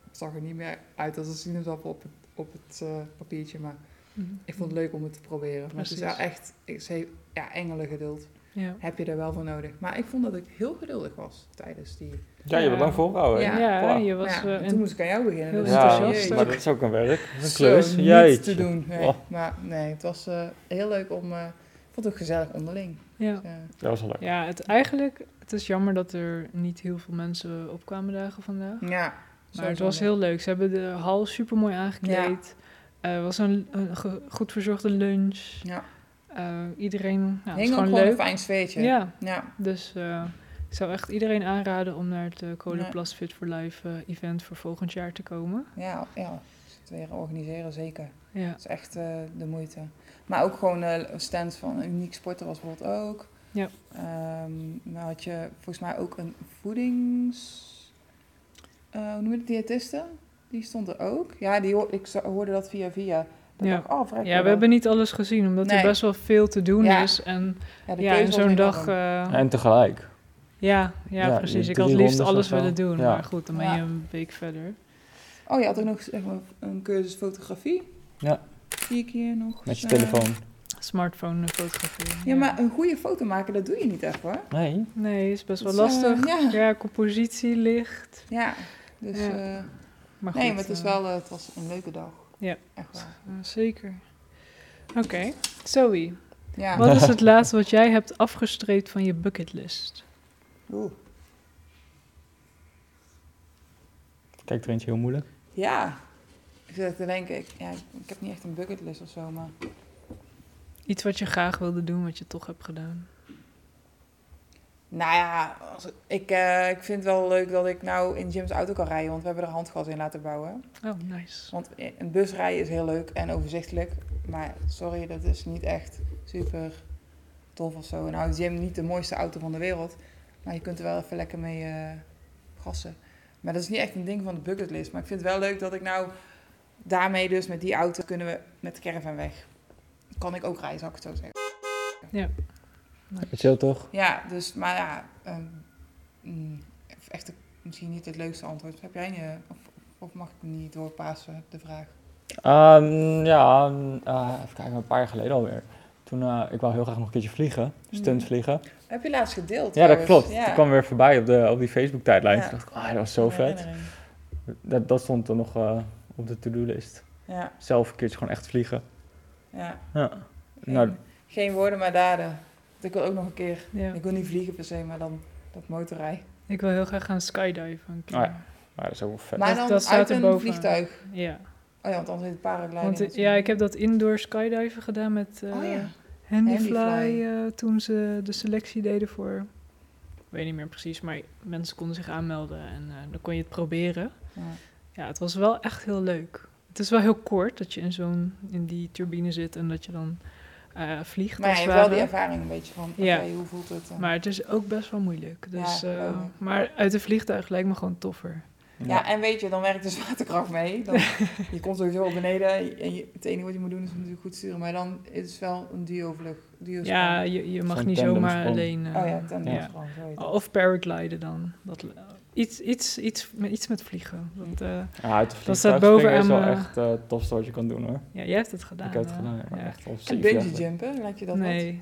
Speaker 2: het zag er niet meer uit als een sinaasappel op het, op het eh, papiertje. Maar
Speaker 4: Mhm.
Speaker 2: ik vond het leuk om het te proberen. Maar het is wel
Speaker 4: Precies.
Speaker 2: echt, ik zei, ja, engelengeduld
Speaker 4: Ja.
Speaker 2: heb je er wel voor nodig. Maar ik vond dat ik heel geduldig was tijdens die...
Speaker 5: Ja, je hebt lang volgehouden. hè?
Speaker 4: Ja,
Speaker 2: Ja.
Speaker 5: Wow.
Speaker 4: je
Speaker 2: Maar
Speaker 4: was
Speaker 2: ja,
Speaker 4: eh,
Speaker 2: toen
Speaker 4: een-
Speaker 2: moest ik aan jou beginnen.
Speaker 4: heel
Speaker 2: dus
Speaker 4: Ja,
Speaker 2: ik dacht,
Speaker 4: enthousiast
Speaker 2: jeetje,
Speaker 5: maar dat is ook een werk. Dat is een
Speaker 2: zo
Speaker 5: klus.
Speaker 2: niet
Speaker 5: Jeetje.
Speaker 2: te doen. Nee.
Speaker 5: Oh.
Speaker 2: Maar nee, het was eh, heel leuk om... eh, vond het ook gezellig onderling.
Speaker 4: Ja.
Speaker 2: Dus, eh,
Speaker 5: Dat was wel leuk.
Speaker 4: Ja, het, eigenlijk, het is jammer dat er niet heel veel mensen opkwamen dagen vandaag.
Speaker 2: ja.
Speaker 4: Maar het
Speaker 2: sowieso
Speaker 4: was
Speaker 2: wel.
Speaker 4: heel leuk. Ze hebben de hal super mooi aangekleed. Er was een, een ge- goed verzorgde lunch.
Speaker 2: Ja.
Speaker 4: Eh, iedereen, nou, het was
Speaker 2: Hing ook
Speaker 4: gewoon
Speaker 2: gewoon een
Speaker 4: leuk.
Speaker 2: fijn sfeertje.
Speaker 4: Ja,
Speaker 2: Ja.
Speaker 4: dus eh, ik zou echt iedereen aanraden om naar het eh,
Speaker 2: Nee.
Speaker 4: Kolenplas Fit for Life eh, event voor volgend jaar te komen.
Speaker 2: Ja, ja. Het weer organiseren, zeker.
Speaker 4: Ja,
Speaker 2: Dat is echt eh, de moeite. Maar ook gewoon eh, een stand van een uniek sporten was bijvoorbeeld ook.
Speaker 4: Ja.
Speaker 2: Ehm, dan had je volgens mij ook een voedings... eh hoe noem je het? Diëtiste? Die stond er ook. Ja, die hoor- ik zo- hoorde dat via via. Dat
Speaker 4: Ja.
Speaker 2: dacht ik, oh, vrek,
Speaker 4: ja we hebben niet alles gezien, omdat
Speaker 2: Nee.
Speaker 4: er best wel veel te doen
Speaker 2: Ja.
Speaker 4: is. En
Speaker 2: ja, de
Speaker 4: ja,
Speaker 2: keuze
Speaker 4: en
Speaker 2: was
Speaker 4: zo'n
Speaker 2: enorm.
Speaker 4: dag... eh,
Speaker 5: En tegelijk.
Speaker 4: ja, ja,
Speaker 5: Ja,
Speaker 4: precies. Ik
Speaker 5: drie
Speaker 4: had het liefst
Speaker 5: rondes
Speaker 4: alles
Speaker 5: of zo.
Speaker 4: willen doen.
Speaker 5: Ja.
Speaker 4: Maar goed, dan ben
Speaker 2: Ja.
Speaker 4: je een week verder. eh,
Speaker 2: Oh, je had ook nog zeg maar, een cursus fotografie.
Speaker 5: Ja.
Speaker 2: Zie ik hier nog.
Speaker 5: Met je
Speaker 2: staan.
Speaker 5: telefoon.
Speaker 4: Smartphone eh, fotografie.
Speaker 2: Ja, maar een goede foto maken, dat doe je niet echt hoor.
Speaker 5: Nee.
Speaker 4: Nee, is best wel
Speaker 2: Dat is, eh,
Speaker 4: lastig.
Speaker 2: ja.
Speaker 4: ja, compositie, licht.
Speaker 2: Ja, dus...
Speaker 4: Ja.
Speaker 2: eh,
Speaker 4: Maar goed,
Speaker 2: nee, maar het, is
Speaker 4: eh,
Speaker 2: wel, eh, het was een leuke dag.
Speaker 4: Ja.
Speaker 2: Echt wel.
Speaker 4: eh, zeker. Oké, Zoe.
Speaker 2: Ja.
Speaker 4: Wat is het laatste wat jij hebt afgestreept van je bucketlist?
Speaker 2: Oeh.
Speaker 5: Kijk, er eentje heel moeilijk.
Speaker 2: Ja. Ik zit te denken, ik, ja, ik heb niet echt een bucketlist of zo, maar...
Speaker 4: Iets wat je graag wilde doen, wat je toch hebt gedaan.
Speaker 2: Nou ja, als, ik, eh, ik vind het wel leuk dat ik nou in Jim's auto kan rijden, want we hebben er handgas in laten bouwen.
Speaker 4: Oh, nice.
Speaker 2: Want i- een bus rijden is heel leuk en overzichtelijk, maar sorry, dat is niet echt super tof of zo. Nou, is Jim niet de mooiste auto van de wereld, maar je kunt er wel even lekker mee eh gassen. Maar dat is niet echt een ding van de bucketlist, maar ik vind het wel leuk dat ik nou daarmee dus met die auto kunnen we met de caravan weg. Kan ik ook rijden, zou ik het zo zeggen.
Speaker 5: Chill toch?
Speaker 2: Ja, dus, maar ja, ehm, mm, echt misschien niet het leukste antwoord. Heb jij je, of, of mag ik hem niet doorpassen, de vraag?
Speaker 5: Ehm, ja, eh, even kijken, een paar jaar geleden alweer. Toen, eh, ik wou heel graag nog een keertje vliegen. Stunt vliegen.
Speaker 2: Heb je laatst gedeeld?
Speaker 5: Ja, dat
Speaker 2: trouwens.
Speaker 5: klopt.
Speaker 2: Ja.
Speaker 5: Dat kwam weer voorbij op, de, op die Facebook-tijdlijn.
Speaker 2: Ja.
Speaker 5: Toen dacht ik, ah, dat was zo
Speaker 2: Een
Speaker 5: vet.
Speaker 2: herinnering.
Speaker 5: Dat, dat stond er nog eh, op de to-do-list.
Speaker 2: Ja,
Speaker 5: Zelf een keertje gewoon echt vliegen.
Speaker 2: ja.
Speaker 5: Ja.
Speaker 2: Geen,
Speaker 5: Nou,
Speaker 2: geen woorden, maar daden. Want Ik wil ook nog een keer,
Speaker 4: Ja.
Speaker 2: ik wil niet vliegen per se, maar dan dat motorrij.
Speaker 4: Ik wil heel graag gaan skydiven. een keer.
Speaker 5: Oh ja. maar dat is ook wel vet.
Speaker 2: Maar
Speaker 4: Dat-
Speaker 2: dan
Speaker 4: dat staat
Speaker 2: uit een
Speaker 4: erboven.
Speaker 2: vliegtuig.
Speaker 4: ja.
Speaker 2: Oh ja, want anders is het paragliding.
Speaker 4: Want eh, ja, ik heb dat indoor skydiven gedaan met eh
Speaker 2: Oh ja.
Speaker 4: Handyfly,
Speaker 2: Handyfly.
Speaker 4: eh, toen ze de selectie deden voor... Ik weet niet meer precies, maar mensen konden zich aanmelden en eh, dan kon je het proberen.
Speaker 2: Ja.
Speaker 4: Ja, het was wel echt heel leuk. Het is wel heel kort dat je in zo'n in die turbine zit en dat je dan eh, vliegt.
Speaker 2: Maar
Speaker 4: als
Speaker 2: je
Speaker 4: het
Speaker 2: hebt wel
Speaker 4: ware.
Speaker 2: die ervaring een beetje van, oké,
Speaker 4: Ja.
Speaker 2: hoe voelt het? eh?
Speaker 4: maar het is ook best wel moeilijk. Dus,
Speaker 2: Ja,
Speaker 4: eh,
Speaker 2: oh.
Speaker 4: maar uit een vliegtuig lijkt me gewoon toffer.
Speaker 2: Ja, en weet je, dan werkt de zwaartekracht mee. Dan, je komt sowieso al beneden. En je, het enige wat je moet doen is natuurlijk goed sturen. Maar dan is het wel een duo-vlucht. Duo
Speaker 4: Ja, je, je mag
Speaker 5: Zo'n
Speaker 4: niet zomaar
Speaker 5: tandemsprong.
Speaker 4: alleen... eh,
Speaker 2: Oh ja, ten
Speaker 4: ja.
Speaker 2: ja. zo heet het.
Speaker 4: Of paragliden dan. Dat, iets, iets, iets, met- iets met vliegen. Want, eh,
Speaker 5: Ja, uit een
Speaker 4: Dat
Speaker 5: vliegtuig
Speaker 4: staat
Speaker 5: springen
Speaker 4: boven
Speaker 5: is
Speaker 4: aan
Speaker 5: wel
Speaker 4: mijn-
Speaker 5: echt eh, het tofste wat je kan doen hoor.
Speaker 4: ja, jij hebt het gedaan.
Speaker 5: ik heb het
Speaker 4: hè?
Speaker 5: gedaan, maar
Speaker 4: Ja.
Speaker 5: echt op
Speaker 2: En
Speaker 5: zeven jaar
Speaker 2: bungee
Speaker 5: geleden.
Speaker 2: jumpen, laat je dat wat?
Speaker 4: nee,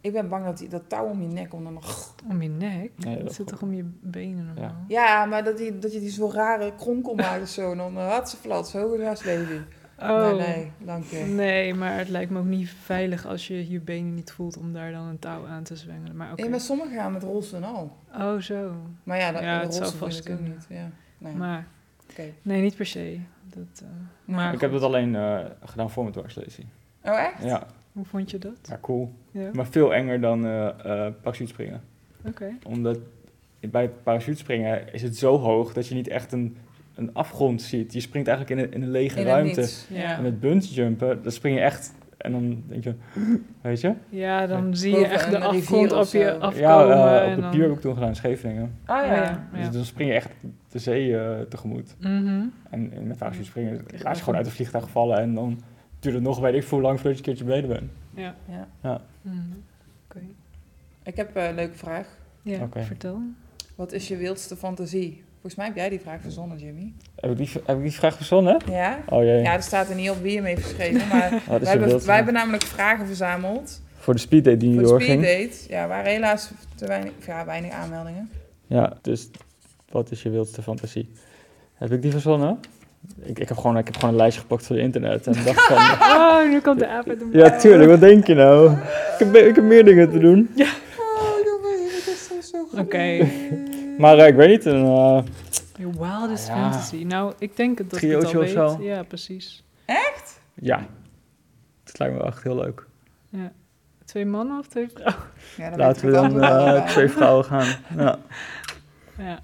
Speaker 2: Ik ben bang dat die, dat touw om je nek om dan nog...
Speaker 4: om je nek.
Speaker 5: Nee, dat
Speaker 4: het zit
Speaker 5: klopt.
Speaker 4: toch om je benen normaal?
Speaker 2: Ja, maar dat, die, dat je die zo rare kronkel maakt of zo. En dan eh, had ze flats, hoge raslevi.
Speaker 4: Oh,
Speaker 2: Maar nee, dank je.
Speaker 4: Nee, maar het lijkt me ook niet veilig als je je benen niet voelt om daar dan een touw aan te zwengelen. Maar oké.
Speaker 2: Ja, maar sommigen gaan met rolsen al.
Speaker 4: Oh, zo.
Speaker 2: Maar ja, dat,
Speaker 4: Ja,
Speaker 2: de
Speaker 4: het zou
Speaker 2: rolsen doen
Speaker 4: vast
Speaker 2: het ook
Speaker 4: kunnen.
Speaker 2: niet. Ja. Nee,
Speaker 4: Maar
Speaker 2: oké.
Speaker 4: nee, niet per se. Dat, eh, maar
Speaker 5: Ik heb
Speaker 4: goed.
Speaker 5: dat alleen eh, gedaan voor mijn dwarslesie.
Speaker 2: Oh, echt?
Speaker 5: Ja,
Speaker 4: Hoe vond je dat?
Speaker 5: maar cool.
Speaker 4: Ja,
Speaker 5: Maar veel enger dan eh eh parachute springen.
Speaker 4: oké.
Speaker 5: Omdat bij parachute springen is het zo hoog dat je niet echt een, een afgrond ziet. Je springt eigenlijk in een, in een lege
Speaker 2: In het
Speaker 5: ruimte.
Speaker 2: niets.
Speaker 4: Ja.
Speaker 5: En met bungeejumpen, dan spring je echt en dan denk je, weet je?
Speaker 4: Ja, dan zie je
Speaker 2: Boven
Speaker 4: echt de
Speaker 2: een rivier
Speaker 4: afgrond
Speaker 2: of
Speaker 4: op je
Speaker 2: zo.
Speaker 4: afkomen.
Speaker 5: ja, eh, op
Speaker 4: en
Speaker 5: de
Speaker 4: dan-
Speaker 5: pier heb ik toen gedaan in Scheveningen.
Speaker 2: Oh
Speaker 4: Oh, ja.
Speaker 5: Dus
Speaker 4: ja.
Speaker 5: dan spring je echt de zee eh, tegemoet.
Speaker 4: Mhm.
Speaker 5: En, en met parachute springen
Speaker 4: Echt
Speaker 5: laat
Speaker 4: wel
Speaker 5: je gewoon
Speaker 4: goed.
Speaker 5: uit het vliegtuig vallen en dan duurt het nog weet ik voor lang voordat je een keertje beneden bent.
Speaker 4: Ja.
Speaker 2: Ja.
Speaker 4: Mhm. Oké.
Speaker 2: Ik heb eh, een leuke vraag.
Speaker 4: Ja,
Speaker 5: Oké.
Speaker 4: vertel.
Speaker 2: Wat is je wildste fantasie? Volgens mij heb jij die vraag verzonnen, Jimmy.
Speaker 5: Heb ik die, heb ik die vraag verzonnen?
Speaker 2: Ja?
Speaker 5: Oh jee.
Speaker 2: Ja, er staat er niet op wie hem heeft geschreven, maar wij,
Speaker 5: Wat is je
Speaker 2: hebben,
Speaker 5: beeld?
Speaker 2: wij hebben namelijk vragen verzameld
Speaker 5: Voor de speeddate die
Speaker 2: voor de
Speaker 5: nu doorging.
Speaker 2: speeddate. Ja, waren helaas te weinig, of ja, weinig aanmeldingen.
Speaker 5: Ja, dus wat is je wildste fantasie? Heb ik die verzonnen? Ik, ik, heb gewoon, ik heb gewoon een lijstje gepakt van internet. En dacht van,
Speaker 4: Oh, nu komt de aap uit de mouw.
Speaker 5: ja, tuurlijk, wat denk je nou? Ik heb, ik heb meer dingen te doen.
Speaker 2: Oh, dat is- dat is zo- zo goed.
Speaker 4: Oké,
Speaker 5: Maar eh, ik weet niet, een, eh,
Speaker 4: your wildest
Speaker 5: Ja.
Speaker 4: fantasy. Nou, ik denk dat ik het
Speaker 5: Triootje
Speaker 4: al
Speaker 5: of
Speaker 4: weet.
Speaker 5: zo.
Speaker 4: Ja, precies.
Speaker 5: ja, het lijkt me wel echt heel leuk.
Speaker 4: Twee mannen of twee vrouwen?
Speaker 2: Ja, dan
Speaker 5: Laten we
Speaker 2: weet ik het
Speaker 5: dan
Speaker 2: antwoord
Speaker 5: eh,
Speaker 2: allebei.
Speaker 5: twee vrouwen gaan. Ja.
Speaker 4: Ja.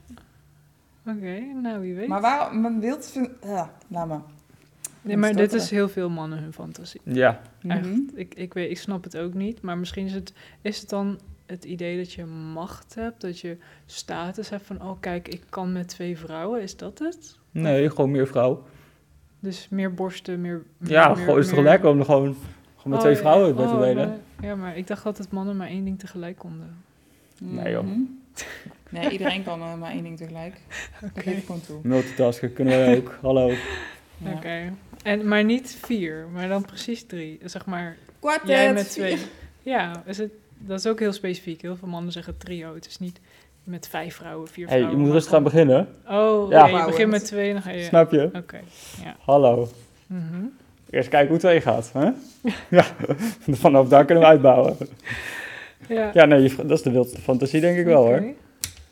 Speaker 4: Oké, nou wie weet.
Speaker 2: Maar waarom, mijn beeld vindt... Ja, laat maar.
Speaker 4: nee, maar dit is
Speaker 2: stotteren.
Speaker 4: heel veel mannen hun fantasie.
Speaker 5: ja,
Speaker 4: Echt,
Speaker 2: Mhm.
Speaker 4: ik, ik, weet, ik snap het ook niet. Maar misschien is het, is het dan het idee dat je macht hebt, dat je status hebt van, oh kijk, ik kan met twee vrouwen, is dat het?
Speaker 5: nee, gewoon meer vrouwen.
Speaker 4: Dus meer borsten, meer...
Speaker 5: Ja,
Speaker 4: meer-
Speaker 5: gewoon, is toch
Speaker 4: meer-
Speaker 5: lekker om er gewoon, gewoon met
Speaker 4: Oh,
Speaker 5: twee vrouwen
Speaker 4: ja.
Speaker 5: bij te
Speaker 4: Oh,
Speaker 5: delen?
Speaker 4: nee. Ja, maar ik dacht altijd dat mannen maar één ding tegelijk konden.
Speaker 5: Nee, joh.
Speaker 2: Mhm. Nee, iedereen kan eh, maar één ding tegelijk. Dat geef ik gewoon toe.
Speaker 5: Multitasken kunnen wij ook, hallo.
Speaker 2: Ja.
Speaker 4: Oké. En, maar niet vier, maar dan precies drie. Zeg maar,
Speaker 3: Quartet.
Speaker 4: jij met twee. Ja, is het, dat is ook heel specifiek. Heel veel mannen zeggen trio. Het is niet met vijf vrouwen, vier
Speaker 5: hey, je
Speaker 4: vrouwen.
Speaker 5: moet
Speaker 4: maar
Speaker 5: rustig aan
Speaker 4: gewoon-
Speaker 5: beginnen,
Speaker 4: Oh,
Speaker 5: Ja.
Speaker 4: oké, je begint met twee en dan ga je...
Speaker 5: snap je?
Speaker 4: Oké, ja.
Speaker 5: Hallo.
Speaker 4: Mhm.
Speaker 5: Eerst kijken hoe twee gaat, hè? Ja, vanaf daar kunnen we uitbouwen.
Speaker 4: Ja,
Speaker 5: Ja, nee, je- dat is de wildste fantasie denk ik wel, hoor.
Speaker 4: oké.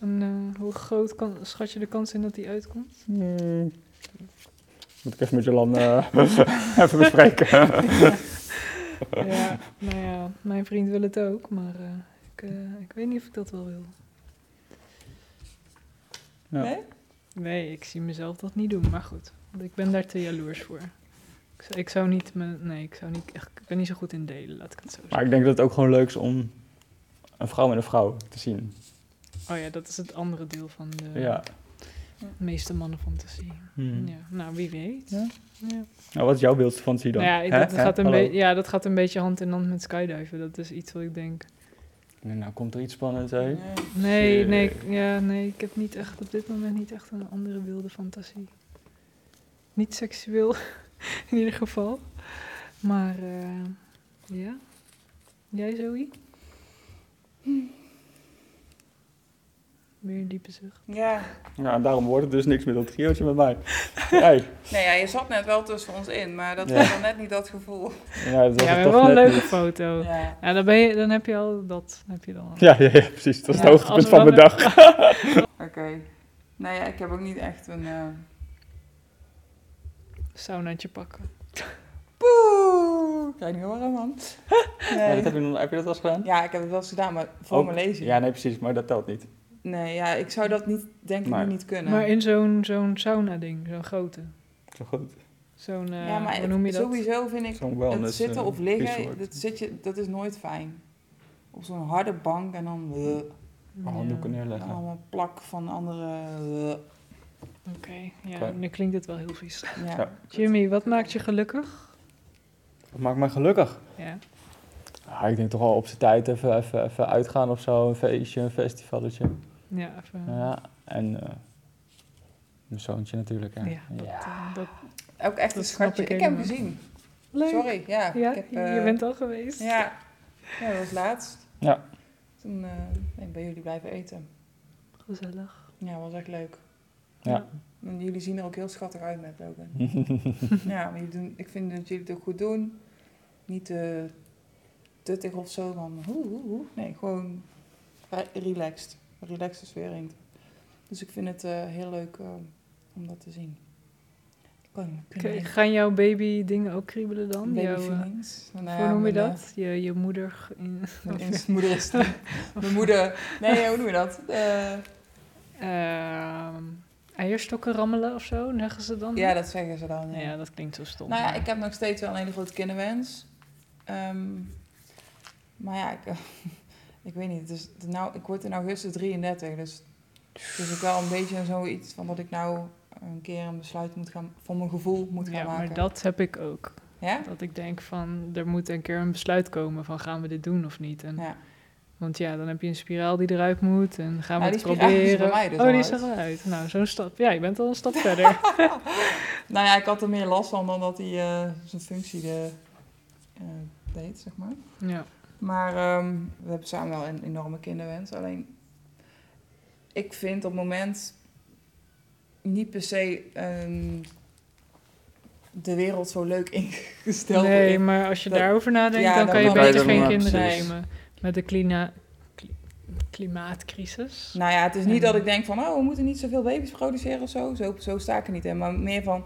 Speaker 4: En eh, hoe groot kan, schat je de kans in dat die uitkomt?
Speaker 5: Hmm. Moet ik even met Jolanda eh, even bespreken.
Speaker 4: ja, nou ja, mijn vriend wil het ook, maar eh, ik, eh, ik weet niet of ik dat wel wil.
Speaker 5: Ja.
Speaker 2: Nee?
Speaker 4: Nee, ik zie mezelf dat niet doen, maar goed. Want ik ben daar te jaloers voor. Ik zou, ik zou niet, me, nee, ik zou niet, echt, ik ben niet zo goed in delen, laat ik het zo
Speaker 5: Maar
Speaker 4: zeggen.
Speaker 5: ik denk dat het ook gewoon leuk is om een vrouw en een vrouw te zien.
Speaker 4: Oh ja, dat is het andere deel van de
Speaker 5: Ja.
Speaker 4: meeste mannen fantasie.
Speaker 5: Hmm.
Speaker 4: Ja, nou, wie weet.
Speaker 5: Ja.
Speaker 4: ja.
Speaker 5: Nou, wat is jouw wildste fantasie dan?
Speaker 4: Nou ja, ik-
Speaker 5: Hè?
Speaker 4: dat
Speaker 5: Hè?
Speaker 4: gaat een
Speaker 5: Hallo?
Speaker 4: beetje- ja, dat gaat een beetje hand in hand met skydiven. Dat is iets wat ik denk.
Speaker 5: Nee, nou, komt er iets spannends, hè?
Speaker 2: Nee.
Speaker 4: Nee,
Speaker 5: Shit.
Speaker 4: nee, ik- ja, nee, ik heb niet echt op dit moment niet echt een andere wilde fantasie. Niet seksueel, in ieder geval. Maar eh, ja. Jij, Zoe? Weer een diepe zucht.
Speaker 2: Ja.
Speaker 5: Ja, en daarom wordt het dus niks met dat triootje met mij. Hey.
Speaker 2: Nee, ja, je zat net wel tussen ons in, maar dat
Speaker 5: Ja.
Speaker 2: was dan net niet dat gevoel.
Speaker 5: Ja, dat
Speaker 4: Ja, we
Speaker 5: was het
Speaker 4: hebben
Speaker 5: toch
Speaker 4: wel een
Speaker 5: net
Speaker 4: leuke
Speaker 5: niet.
Speaker 4: foto. Ja,
Speaker 2: Ja.
Speaker 4: dan, ben je, dan heb je al dat. Heb je dan al.
Speaker 5: Ja, ja, ja, precies. Dat is
Speaker 4: Ja,
Speaker 5: het hoogtepunt
Speaker 4: als we
Speaker 5: van mijn
Speaker 4: dan-
Speaker 5: dag.
Speaker 2: Oké. Nou ja, ik heb ook niet echt een... eh,
Speaker 4: Saunaatje pakken.
Speaker 2: Poeh! Ik weet niet waarom, man.
Speaker 5: Ja,
Speaker 2: Nee.
Speaker 5: dat heb, je, nog- heb je dat wel eens gedaan?
Speaker 2: Ja, ik heb het wel eens gedaan, maar voor
Speaker 5: Ook-
Speaker 2: mijn lezing.
Speaker 5: Ja, nee, precies, maar dat telt niet.
Speaker 2: Nee, ja, ik zou dat niet, denk ik,
Speaker 5: Maar-
Speaker 2: nu niet kunnen.
Speaker 4: Maar in zo'n zo'n sauna-ding, zo'n grote.
Speaker 5: Zo goed.
Speaker 4: Zo'n, eh,
Speaker 2: ja, maar
Speaker 4: hoe noem je dat?
Speaker 2: sowieso vind ik
Speaker 5: Zo'n
Speaker 2: het
Speaker 5: wellness,
Speaker 2: zitten
Speaker 5: eh,
Speaker 2: of liggen,
Speaker 5: resort.
Speaker 2: dat, zit je, dat is nooit fijn. Op zo'n harde bank en dan eh,
Speaker 5: Mijn handdoeken neerleggen.
Speaker 2: allemaal plak van andere... eh,
Speaker 4: Oké, ja,
Speaker 5: Oké.
Speaker 4: nu klinkt het wel heel vies.
Speaker 2: ja.
Speaker 5: Ja.
Speaker 4: Jimmy, wat maakt je gelukkig?
Speaker 5: Dat maakt mij gelukkig.
Speaker 4: Ja.
Speaker 5: Ja, ik denk toch wel op zijn tijd even, even, even uitgaan of zo. Een feestje, een festivalletje.
Speaker 4: Ja, even, ja,
Speaker 5: Ja, en eh, mijn zoontje natuurlijk. Hè.
Speaker 4: dat, eh, dat,
Speaker 2: Ook echt
Speaker 4: Dat
Speaker 2: een
Speaker 4: snap
Speaker 2: schatje.
Speaker 4: ik
Speaker 2: Ik, heb hem
Speaker 4: helemaal.
Speaker 2: gezien.
Speaker 4: leuk.
Speaker 2: Sorry, ja.
Speaker 4: Ja,
Speaker 2: ik heb,
Speaker 4: je
Speaker 2: eh,
Speaker 4: bent al geweest.
Speaker 2: Ja. ja, dat was laatst.
Speaker 5: Ja.
Speaker 2: Toen eh, ben ik bij jullie blijven eten.
Speaker 4: Gezellig.
Speaker 2: Ja, was echt leuk.
Speaker 5: Ja.
Speaker 2: En jullie zien er ook heel schattig uit met Logan. ja, maar jullie doen, ik vind dat jullie het ook goed doen. Niet eh, te tuttig of zo van hoe, hoe, hoe. Nee, gewoon re- relaxed. Relaxed is weer in. Dus ik vind het eh, heel leuk eh, om dat te zien. Ik kan
Speaker 4: Oké, gaan jouw baby dingen ook kriebelen dan?
Speaker 2: baby
Speaker 4: jouw, eh,
Speaker 2: feelings. Nou ja,
Speaker 4: hoe noem je
Speaker 2: mijn, eh,
Speaker 4: dat? Je, je moeder ge- in,
Speaker 2: Mijn jongste moeder is die. Mijn moeder. Nee, hoe noem je dat? Eh,
Speaker 4: Ehm, eierstokken rammelen of zo, zeggen ze dan?
Speaker 2: ja, dat zeggen ze dan.
Speaker 4: Ja,
Speaker 2: ja.
Speaker 4: dat klinkt zo stom.
Speaker 2: Nou ja,
Speaker 4: maar-
Speaker 2: ik heb nog steeds wel een hele grote kinderwens. Ehm, maar ja, ik, ik weet niet. Het is, nou, ik word in augustus 33, dus het is ook wel een beetje zoiets van dat ik nou een keer een besluit moet gaan, voor mijn gevoel moet gaan
Speaker 4: ja,
Speaker 2: maken.
Speaker 4: maar dat heb ik ook.
Speaker 2: Ja?
Speaker 4: Dat ik denk van, er moet een keer een besluit komen van gaan we dit doen of niet. En
Speaker 2: Ja.
Speaker 4: Want ja, dan heb je een spiraal die eruit moet en gaan we
Speaker 2: Nou,
Speaker 4: het
Speaker 2: die spiraal is er
Speaker 4: proberen.
Speaker 2: bij mij dus
Speaker 4: oh,
Speaker 2: al
Speaker 4: die is
Speaker 2: uit.
Speaker 4: er al uit. Nou, zo'n stap. Ja, je bent al een stap verder.
Speaker 2: Nou ja, ik had er meer last van dan dat hij eh, zijn functie de, eh, deed, zeg maar.
Speaker 4: Ja.
Speaker 2: Maar ehm, we hebben samen wel een enorme kinderwens. Alleen, ik vind op het moment niet per se een de wereld zo leuk ingesteld
Speaker 4: nee,
Speaker 2: is.
Speaker 4: maar als je
Speaker 2: dat-
Speaker 4: daarover nadenkt,
Speaker 2: ja,
Speaker 4: dan
Speaker 2: dan
Speaker 4: kan je
Speaker 2: kan je
Speaker 4: beter
Speaker 2: er-
Speaker 4: geen
Speaker 1: ja,
Speaker 4: kinderen
Speaker 2: precies.
Speaker 4: nemen. Met de klina, kli- klimaatcrisis.
Speaker 2: Nou ja, het is niet
Speaker 4: Ja.
Speaker 2: dat ik denk van, oh, we moeten niet zoveel baby's produceren of zo. Zo, zo sta ik er niet in. Maar meer van,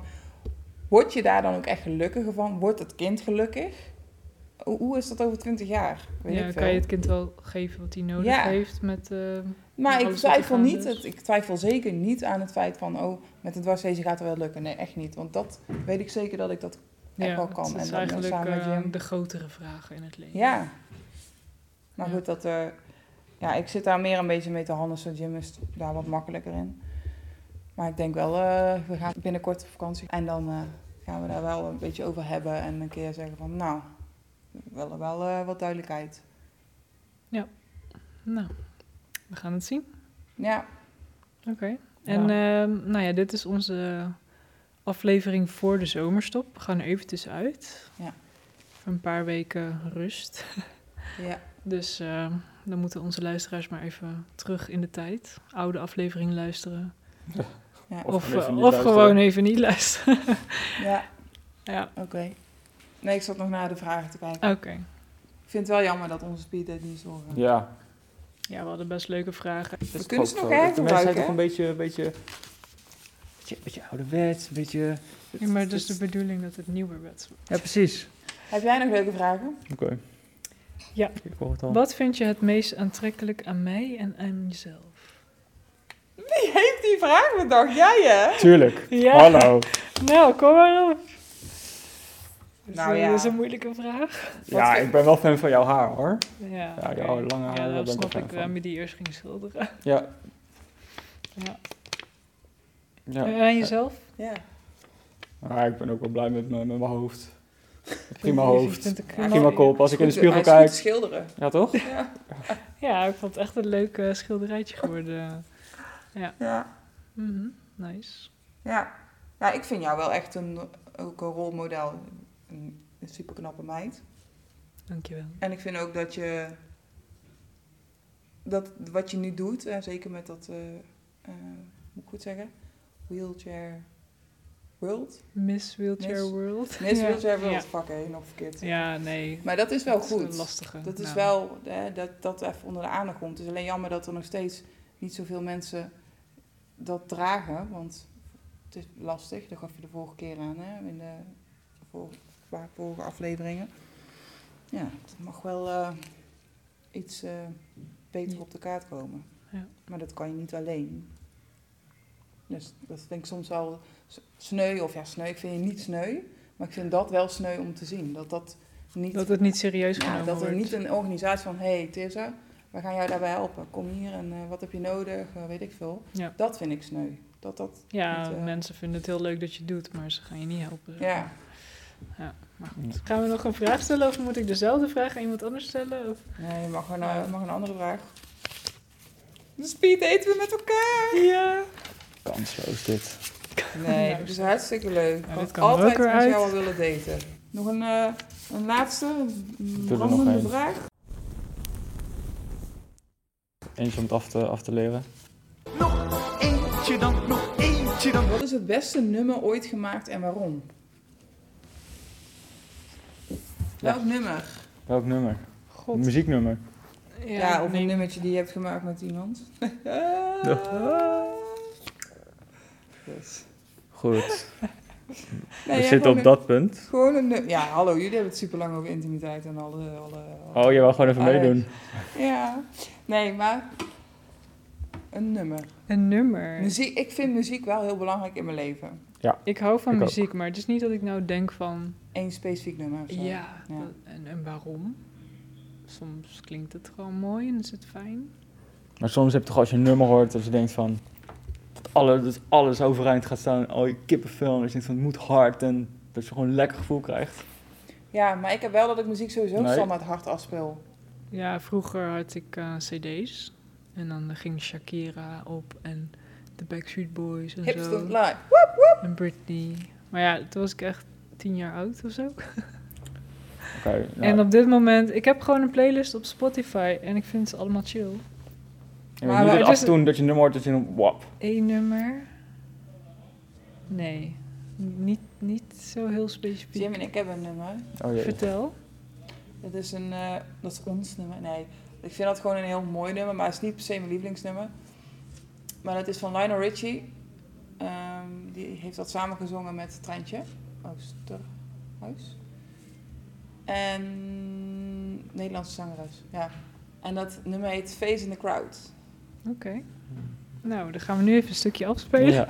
Speaker 2: word je daar dan ook echt gelukkiger van? Wordt het kind gelukkig? Hoe, hoe is dat over 20 jaar? Weet
Speaker 4: ja,
Speaker 2: ik
Speaker 4: kan
Speaker 2: veel.
Speaker 4: je het kind wel geven wat hij nodig
Speaker 2: Ja.
Speaker 4: heeft met... eh,
Speaker 2: Maar ik
Speaker 4: alles wat er
Speaker 2: twijfel,
Speaker 4: gaande
Speaker 2: niet,
Speaker 4: is?
Speaker 2: het, ik twijfel zeker niet aan het feit van, oh, met het dwarslezen gaat het wel lukken. Nee, echt niet. Want dat weet ik zeker dat ik dat echt wel kan.
Speaker 4: Dat is
Speaker 2: en dan
Speaker 4: eigenlijk
Speaker 2: samen met
Speaker 4: eh,
Speaker 2: Jim.
Speaker 4: de grotere vragen in het leven.
Speaker 2: Ja. Maar
Speaker 4: Ja.
Speaker 2: goed, dat, eh, ja, ik zit daar meer een beetje mee te handelen. Zo Jim is daar wat makkelijker in. Maar ik denk wel, eh, we gaan binnenkort op vakantie. En dan eh, gaan we daar wel een beetje over hebben. En een keer zeggen van, nou, we willen wel eh, wat duidelijkheid.
Speaker 4: Nou, we gaan het zien.
Speaker 2: Ja,
Speaker 4: Oké. En ehm, nou ja, dit is onze aflevering voor de zomerstop. We gaan er even tussenuit.
Speaker 2: Ja.
Speaker 4: Voor een paar weken rust.
Speaker 2: ja.
Speaker 4: Dus ehm, dan moeten onze luisteraars maar even terug in de tijd. Oude aflevering luisteren.
Speaker 2: Ja.
Speaker 4: Of,
Speaker 5: Of
Speaker 4: of,
Speaker 5: gewoon even niet luisteren.
Speaker 4: gewoon even niet luisteren.
Speaker 2: ja
Speaker 4: ja,
Speaker 2: oké. Nee, ik zat nog naar de vragen te kijken.
Speaker 4: oké.
Speaker 2: Ik vind het wel jammer dat onze speeddate niet zo... eh,
Speaker 5: Ja.
Speaker 4: Ja, we hadden best leuke vragen.
Speaker 5: Dat is
Speaker 2: kunnen
Speaker 5: toch
Speaker 2: ze nog
Speaker 5: ook zo.
Speaker 2: even
Speaker 5: De mensen zijn
Speaker 2: gebruiken,
Speaker 5: toch een beetje, een beetje, een beetje, een beetje ouderwets, een beetje...
Speaker 4: Ja, maar het is de bedoeling dat het nieuwer werd.
Speaker 5: Ja, precies.
Speaker 2: Heb jij nog leuke vragen?
Speaker 5: Oké.
Speaker 4: Ja.
Speaker 5: Ik hoor het al.
Speaker 4: Wat vind je het meest aantrekkelijk aan mij en aan jezelf?
Speaker 2: Wie heeft die vraag bedacht? Jij, hè?
Speaker 5: Tuurlijk.
Speaker 4: Ja.
Speaker 5: Hallo.
Speaker 4: Nou, kom maar op. Dat
Speaker 2: Nou
Speaker 4: is, eh,
Speaker 2: ja.
Speaker 4: dat is een moeilijke vraag.
Speaker 5: Ja,
Speaker 2: vind-
Speaker 5: ik ben wel fan van jouw haar, hoor.
Speaker 4: Ja,
Speaker 5: Ja,
Speaker 4: oké.
Speaker 5: jouw lange haren, daar
Speaker 4: Ja,
Speaker 5: ben
Speaker 4: dat
Speaker 5: ik wel
Speaker 4: snap
Speaker 5: fan
Speaker 4: ik
Speaker 5: van.
Speaker 4: waarom je die eerst ging schilderen.
Speaker 5: Ja.
Speaker 4: Ja.
Speaker 5: Ja.
Speaker 4: Eh, En aan jezelf?
Speaker 2: Ja.
Speaker 5: Maar ik ben ook wel blij met mijn, met mijn hoofd.
Speaker 4: Je
Speaker 5: Prima hoofd.
Speaker 4: vindt een knap-
Speaker 5: Prima kop. Als ik in de
Speaker 2: Goed, hij
Speaker 5: spiegel
Speaker 2: is goed te
Speaker 5: kijk.
Speaker 2: schilderen.
Speaker 5: Ja, toch?
Speaker 4: Ja, ik vond het echt een leuk eh, schilderijtje geworden.
Speaker 2: Ja.
Speaker 4: Mhm, Nice.
Speaker 2: Ja. ja, ik vind jou wel echt een, ook een rolmodel. Een, een super knappe meid.
Speaker 4: Dankjewel.
Speaker 2: En ik vind ook dat je. Dat wat je nu doet, en zeker met dat. eh, eh, moet ik goed zeggen? Wheelchair World.
Speaker 4: Miss Wheelchair
Speaker 2: Miss-
Speaker 4: World.
Speaker 2: Nee, is
Speaker 4: Ja.
Speaker 2: Wheelchair World.
Speaker 4: Ja.
Speaker 2: Fuck, hé, nog verkeerd.
Speaker 4: Ja, ja nee.
Speaker 2: Maar dat is wel
Speaker 4: Dat een
Speaker 2: goed.
Speaker 4: lastige.
Speaker 2: Dat is
Speaker 4: Nou,
Speaker 2: wel, hè, dat dat even onder de aandacht komt. Het is alleen jammer dat er nog steeds niet zoveel mensen dat dragen. Want het is lastig, daar gaf je de vorige keer aan, hè, in de vor- paar vorige afleveringen. Ja, het mag wel eh, iets eh, beter op de kaart komen.
Speaker 4: Ja.
Speaker 2: Maar dat kan je niet alleen. Dus dat vind ik soms wel s- sneu, of ja, sneu, ik vind je niet sneu. Maar ik vind dat wel sneu om te zien. Dat dat niet
Speaker 4: Dat het niet serieus
Speaker 2: ja,
Speaker 4: genomen
Speaker 2: dat er
Speaker 4: wordt.
Speaker 2: niet een organisatie van, hé hey, Tessa, we gaan jou daarbij helpen. Kom hier en eh, wat heb je nodig, Eh, weet ik veel.
Speaker 4: Ja.
Speaker 2: Dat vind ik sneu. Dat dat,
Speaker 4: Ja,
Speaker 2: niet, eh,
Speaker 4: mensen vinden het heel leuk dat je het doet, maar ze gaan je niet helpen. zeg
Speaker 2: ja.
Speaker 4: maar. Maar goed. Gaan we nog een vraag stellen of moet ik dezelfde vraag aan iemand anders stellen? Of...
Speaker 2: Nee, je mag een, eh, mag een andere vraag. De speed eten we met elkaar.
Speaker 4: Ja.
Speaker 5: Kansloos dit.
Speaker 2: Nee, dat is hartstikke leuk.
Speaker 4: Ja,
Speaker 2: Ik
Speaker 4: dit
Speaker 2: had
Speaker 4: kan er
Speaker 2: altijd
Speaker 4: ook
Speaker 2: met
Speaker 4: weer
Speaker 2: jou
Speaker 4: uit.
Speaker 2: al willen daten. Nog een, eh, een laatste, een
Speaker 5: er nog
Speaker 2: brandende
Speaker 5: één.
Speaker 2: vraag.
Speaker 5: Eentje om het af te, af te leren.
Speaker 6: Eentje dan, nog eentje dan.
Speaker 2: Wat is het beste nummer ooit gemaakt en waarom?
Speaker 5: Ja.
Speaker 2: Welk nummer?
Speaker 5: Welk nummer?
Speaker 4: God.
Speaker 5: Een muzieknummer.
Speaker 2: Ja, of een nummertje die je hebt gemaakt met iemand. Yes.
Speaker 5: Goed.
Speaker 2: Nee,
Speaker 5: We
Speaker 2: ja,
Speaker 5: zitten
Speaker 2: gewoon
Speaker 5: op
Speaker 2: een-
Speaker 5: dat punt.
Speaker 2: Gewoon een nummer. Ja, hallo, jullie hebben het super lang over intimiteit en alle. alle, alle-
Speaker 5: Oh, jij wil gewoon even
Speaker 2: Ah, ja.
Speaker 5: meedoen.
Speaker 2: Ja. Nee, maar. Een nummer.
Speaker 4: Een nummer.
Speaker 2: Muziek, ik vind muziek wel heel belangrijk in mijn leven.
Speaker 4: Ik hou van
Speaker 5: Ik ook.
Speaker 4: muziek, maar het is niet dat ik nou denk van
Speaker 2: Eén specifiek nummer. of zo.
Speaker 4: ja,
Speaker 2: Ja.
Speaker 4: dat- en, en waarom. Soms klinkt het gewoon mooi en is het fijn.
Speaker 5: Maar soms heb je toch als je een nummer hoort dat je denkt van... Dat alles, dat alles overeind gaat staan. Al je kippenvel. en Dat je denkt van het moet hard. En dat je gewoon een lekker gevoel krijgt.
Speaker 2: Ja, maar ik heb wel dat ik muziek sowieso
Speaker 5: Nee.
Speaker 2: standaard hard afspeel.
Speaker 4: Ja, vroeger had ik eh, cd's en dan ging Shakira op en de Backstreet Boys en
Speaker 2: Hips
Speaker 4: zo
Speaker 2: don't lie.
Speaker 4: en Britney. Maar ja, toen was ik echt tien jaar oud of zo.
Speaker 5: Oké.
Speaker 4: En
Speaker 5: nou,
Speaker 4: op dit moment, ik heb gewoon een playlist op Spotify en ik vind ze allemaal chill.
Speaker 5: je
Speaker 2: maar
Speaker 5: weet niet
Speaker 4: het
Speaker 5: dat af
Speaker 4: is-
Speaker 5: en toe dat je een nummer hoort dat je een wap.
Speaker 4: Eén nummer? Nee. Niet, niet zo heel specifiek.
Speaker 2: Jim en ik hebben een nummer.
Speaker 5: Oh jee.
Speaker 4: Vertel.
Speaker 2: Dat is, een, eh, dat is ons nummer. Nee, ik vind dat gewoon een heel mooi nummer, maar het is niet per se mijn lievelingsnummer. Maar dat is van Lionel Richie. Ehm, die heeft dat samengezongen met Treintje Oosterhuis. En Nederlandse zangeres, ja. En dat nummer heet Face in the Crowd.
Speaker 4: Oké. Nou, dan gaan we nu even een stukje afspelen.
Speaker 5: Ja.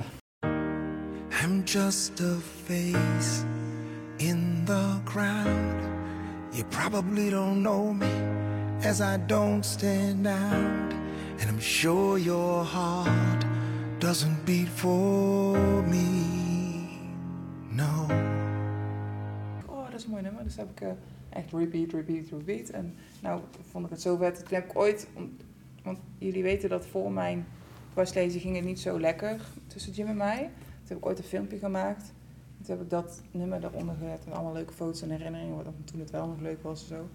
Speaker 6: I'm just a face in the crowd. You probably don't know me as I don't stand out. And I'm sure your heart doesn't beat for me. No.
Speaker 2: Oh, dat is een mooi nummer. Dus heb ik eh, echt repeat, repeat, repeat. En nou vond ik het zo vet. Toen heb ik ooit, om- want jullie weten dat voor mijn dwarslezing ging het niet zo lekker tussen Jim en mij. Toen heb ik ooit een filmpje gemaakt. Toen heb ik dat nummer eronder gezet en allemaal leuke foto's en herinneringen, wat toen het wel nog leuk was en zo.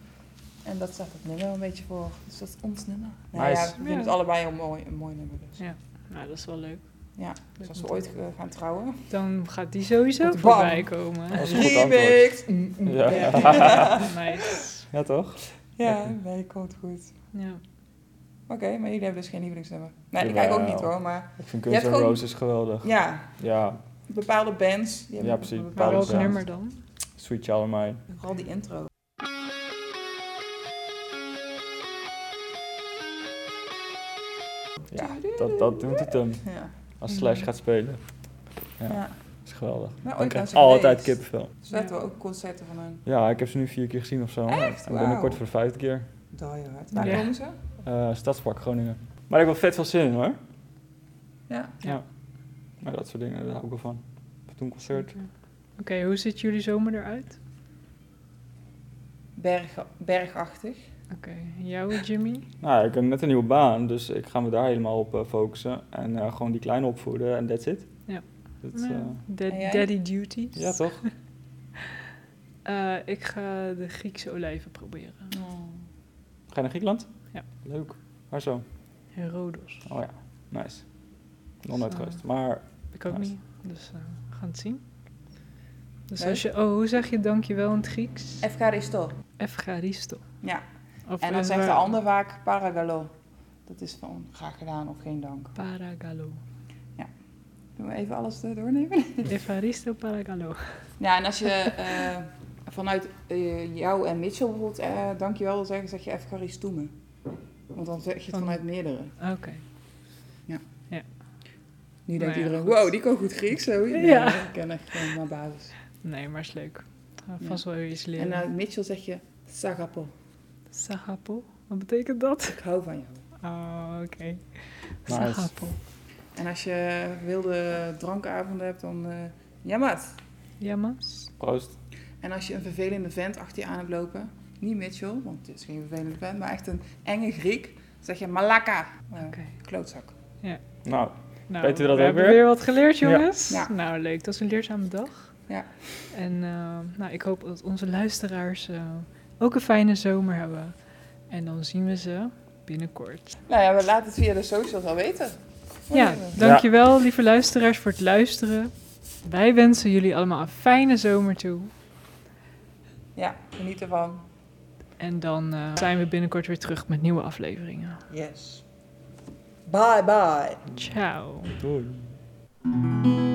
Speaker 2: En dat staat het nummer een beetje voor. Dus dat is ons nummer. Nou
Speaker 5: Nice.
Speaker 2: ja, we vinden het
Speaker 4: Ja.
Speaker 2: allebei een mooi, een mooi nummer dus.
Speaker 4: Ja. Nou, dat is wel leuk.
Speaker 2: Ja,
Speaker 4: Leuk
Speaker 2: dus als
Speaker 4: om
Speaker 2: we
Speaker 4: te
Speaker 2: ooit eh, gaan trouwen.
Speaker 4: Dan gaat die sowieso
Speaker 2: Bam.
Speaker 4: voorbij komen.
Speaker 5: Dat is een goed antwoord.
Speaker 2: Mm, mm.
Speaker 5: Ja.
Speaker 2: Ja,
Speaker 4: nice.
Speaker 5: Ja, toch?
Speaker 2: ja nee, komt goed.
Speaker 4: Ja.
Speaker 2: Oké, maar jullie hebben dus geen lievelingsnummer. Nee, die
Speaker 5: Jawel.
Speaker 2: kijk ik ook niet hoor, maar
Speaker 5: Ik vind
Speaker 2: Je hebt
Speaker 5: Guns N'
Speaker 2: gewoon-
Speaker 5: Roses geweldig.
Speaker 2: ja,
Speaker 5: Ja,
Speaker 2: bepaalde bands. Die hebben
Speaker 5: Ja, precies,
Speaker 2: een
Speaker 4: Maar
Speaker 5: bepaalde
Speaker 2: Bepaalde
Speaker 4: welk
Speaker 5: Alles, ja.
Speaker 4: nummer dan?
Speaker 5: Sweet Child of Mine.
Speaker 2: Vooral die intro.
Speaker 5: Ja, dat, dat doet het hem.
Speaker 2: Ja.
Speaker 5: Als Slash gaat spelen.
Speaker 2: ja.
Speaker 5: Ja. Dat is geweldig.
Speaker 2: Maar
Speaker 5: Dan
Speaker 2: ooit
Speaker 5: krijg
Speaker 2: krijg
Speaker 5: ik altijd kippenvel.
Speaker 2: Zo hebben we ook concerten van hun.
Speaker 5: Ja, ik heb ze nu vier keer gezien of zo.
Speaker 2: Echt?
Speaker 5: En binnenkort
Speaker 2: Wauw.
Speaker 5: voor de vijfde keer.
Speaker 2: Die Hard. Waar
Speaker 4: Ja.
Speaker 2: komen ze?
Speaker 5: Eh, Stadspark Groningen. Maar ik heb wel vet veel zin in hoor.
Speaker 2: Ja.
Speaker 5: Maar dat soort dingen, daar hou ik wel van. Toen concert.
Speaker 4: Oké, hoe ziet jullie zomer eruit?
Speaker 2: Berg, bergachtig.
Speaker 4: Oké, jou Jimmy?
Speaker 5: Nou, ik heb net een nieuwe baan, dus ik ga me daar helemaal op eh, focussen. En eh, gewoon die kleine opvoeden en that's it.
Speaker 4: Ja.
Speaker 5: Dat,
Speaker 4: Nou,
Speaker 5: eh,
Speaker 4: dad-
Speaker 2: En jij?
Speaker 4: daddy duties.
Speaker 5: ja, toch?
Speaker 4: Eh, ik ga de Griekse olijven proberen.
Speaker 5: Ga je naar Griekenland?
Speaker 4: Ja.
Speaker 5: Leuk. Waar zo?
Speaker 4: Herodos.
Speaker 5: Oh ja, nice.
Speaker 4: Dus,
Speaker 5: Nog nooit
Speaker 4: eh,
Speaker 5: geweest. Maar
Speaker 4: Ik ook
Speaker 5: Nice.
Speaker 4: niet, dus eh, we gaan het zien. Dus
Speaker 2: Leuk.
Speaker 4: als je... Oh, hoe zeg je dankjewel in het Grieks?
Speaker 2: Efkaristo.
Speaker 4: Efcharisto.
Speaker 2: Ja.
Speaker 4: Of
Speaker 2: En dan
Speaker 4: eh,
Speaker 2: zegt de
Speaker 4: waar-
Speaker 2: ander vaak paragalo. Dat is van graag gedaan of geen dank.
Speaker 4: Paragalo.
Speaker 2: Doen we even alles eh, doornemen?
Speaker 4: Efaristo Paragalo.
Speaker 2: Ja, en als je eh, vanuit eh, jou en Mitchell bijvoorbeeld eh, dankjewel wil zeggen, zeg je Efkaristoeme. Want dan zeg je het
Speaker 4: Van-
Speaker 2: vanuit meerdere.
Speaker 4: Oké.
Speaker 2: Nu
Speaker 4: Nou
Speaker 2: denkt
Speaker 4: ja,
Speaker 2: iedereen,
Speaker 4: goed.
Speaker 2: wow, die kan goed Grieks. Zo. Nee,
Speaker 4: Ja.
Speaker 2: Ik ken echt gewoon maar basis.
Speaker 4: Nee, maar is leuk. We gaan
Speaker 2: Ja.
Speaker 4: vast wel weer iets
Speaker 2: En eh,
Speaker 4: leren.
Speaker 2: naar Mitchell zeg je, Sagapo,
Speaker 4: Sagapo? Wat betekent dat?
Speaker 2: ik hou van jou.
Speaker 4: Oh, oké.
Speaker 5: Nice.
Speaker 4: Sagapo.
Speaker 2: En als je wilde drankavonden hebt, dan eh Jamat.
Speaker 4: Jamas?
Speaker 5: proost.
Speaker 2: En als je een vervelende vent achter je aan hebt lopen, niet Mitchell, want het is geen vervelende vent, maar echt een enge Griek, zeg je Malaka. Nou,
Speaker 4: Oké.
Speaker 2: Klootzak.
Speaker 5: Nou,
Speaker 4: Nou,
Speaker 5: Weet u dat
Speaker 4: we
Speaker 5: ook
Speaker 4: hebben
Speaker 5: weer?
Speaker 4: weer wat geleerd,
Speaker 5: Ja.
Speaker 4: jongens.
Speaker 2: Ja.
Speaker 4: Nou, leuk. Dat is een leerzame dag.
Speaker 2: Ja.
Speaker 4: En eh, nou, ik hoop dat onze luisteraars eh, ook een fijne zomer hebben. En dan zien we ze binnenkort.
Speaker 2: Nou ja, we laten het via de socials al weten.
Speaker 4: Ja, dankjewel, lieve luisteraars, voor het luisteren. Wij wensen jullie allemaal een fijne zomer toe.
Speaker 2: Ja, geniet ervan.
Speaker 4: En dan eh, zijn we binnenkort weer terug met nieuwe afleveringen.
Speaker 2: Yes. Bye bye.
Speaker 4: Ciao.
Speaker 5: Doei.
Speaker 6: Thank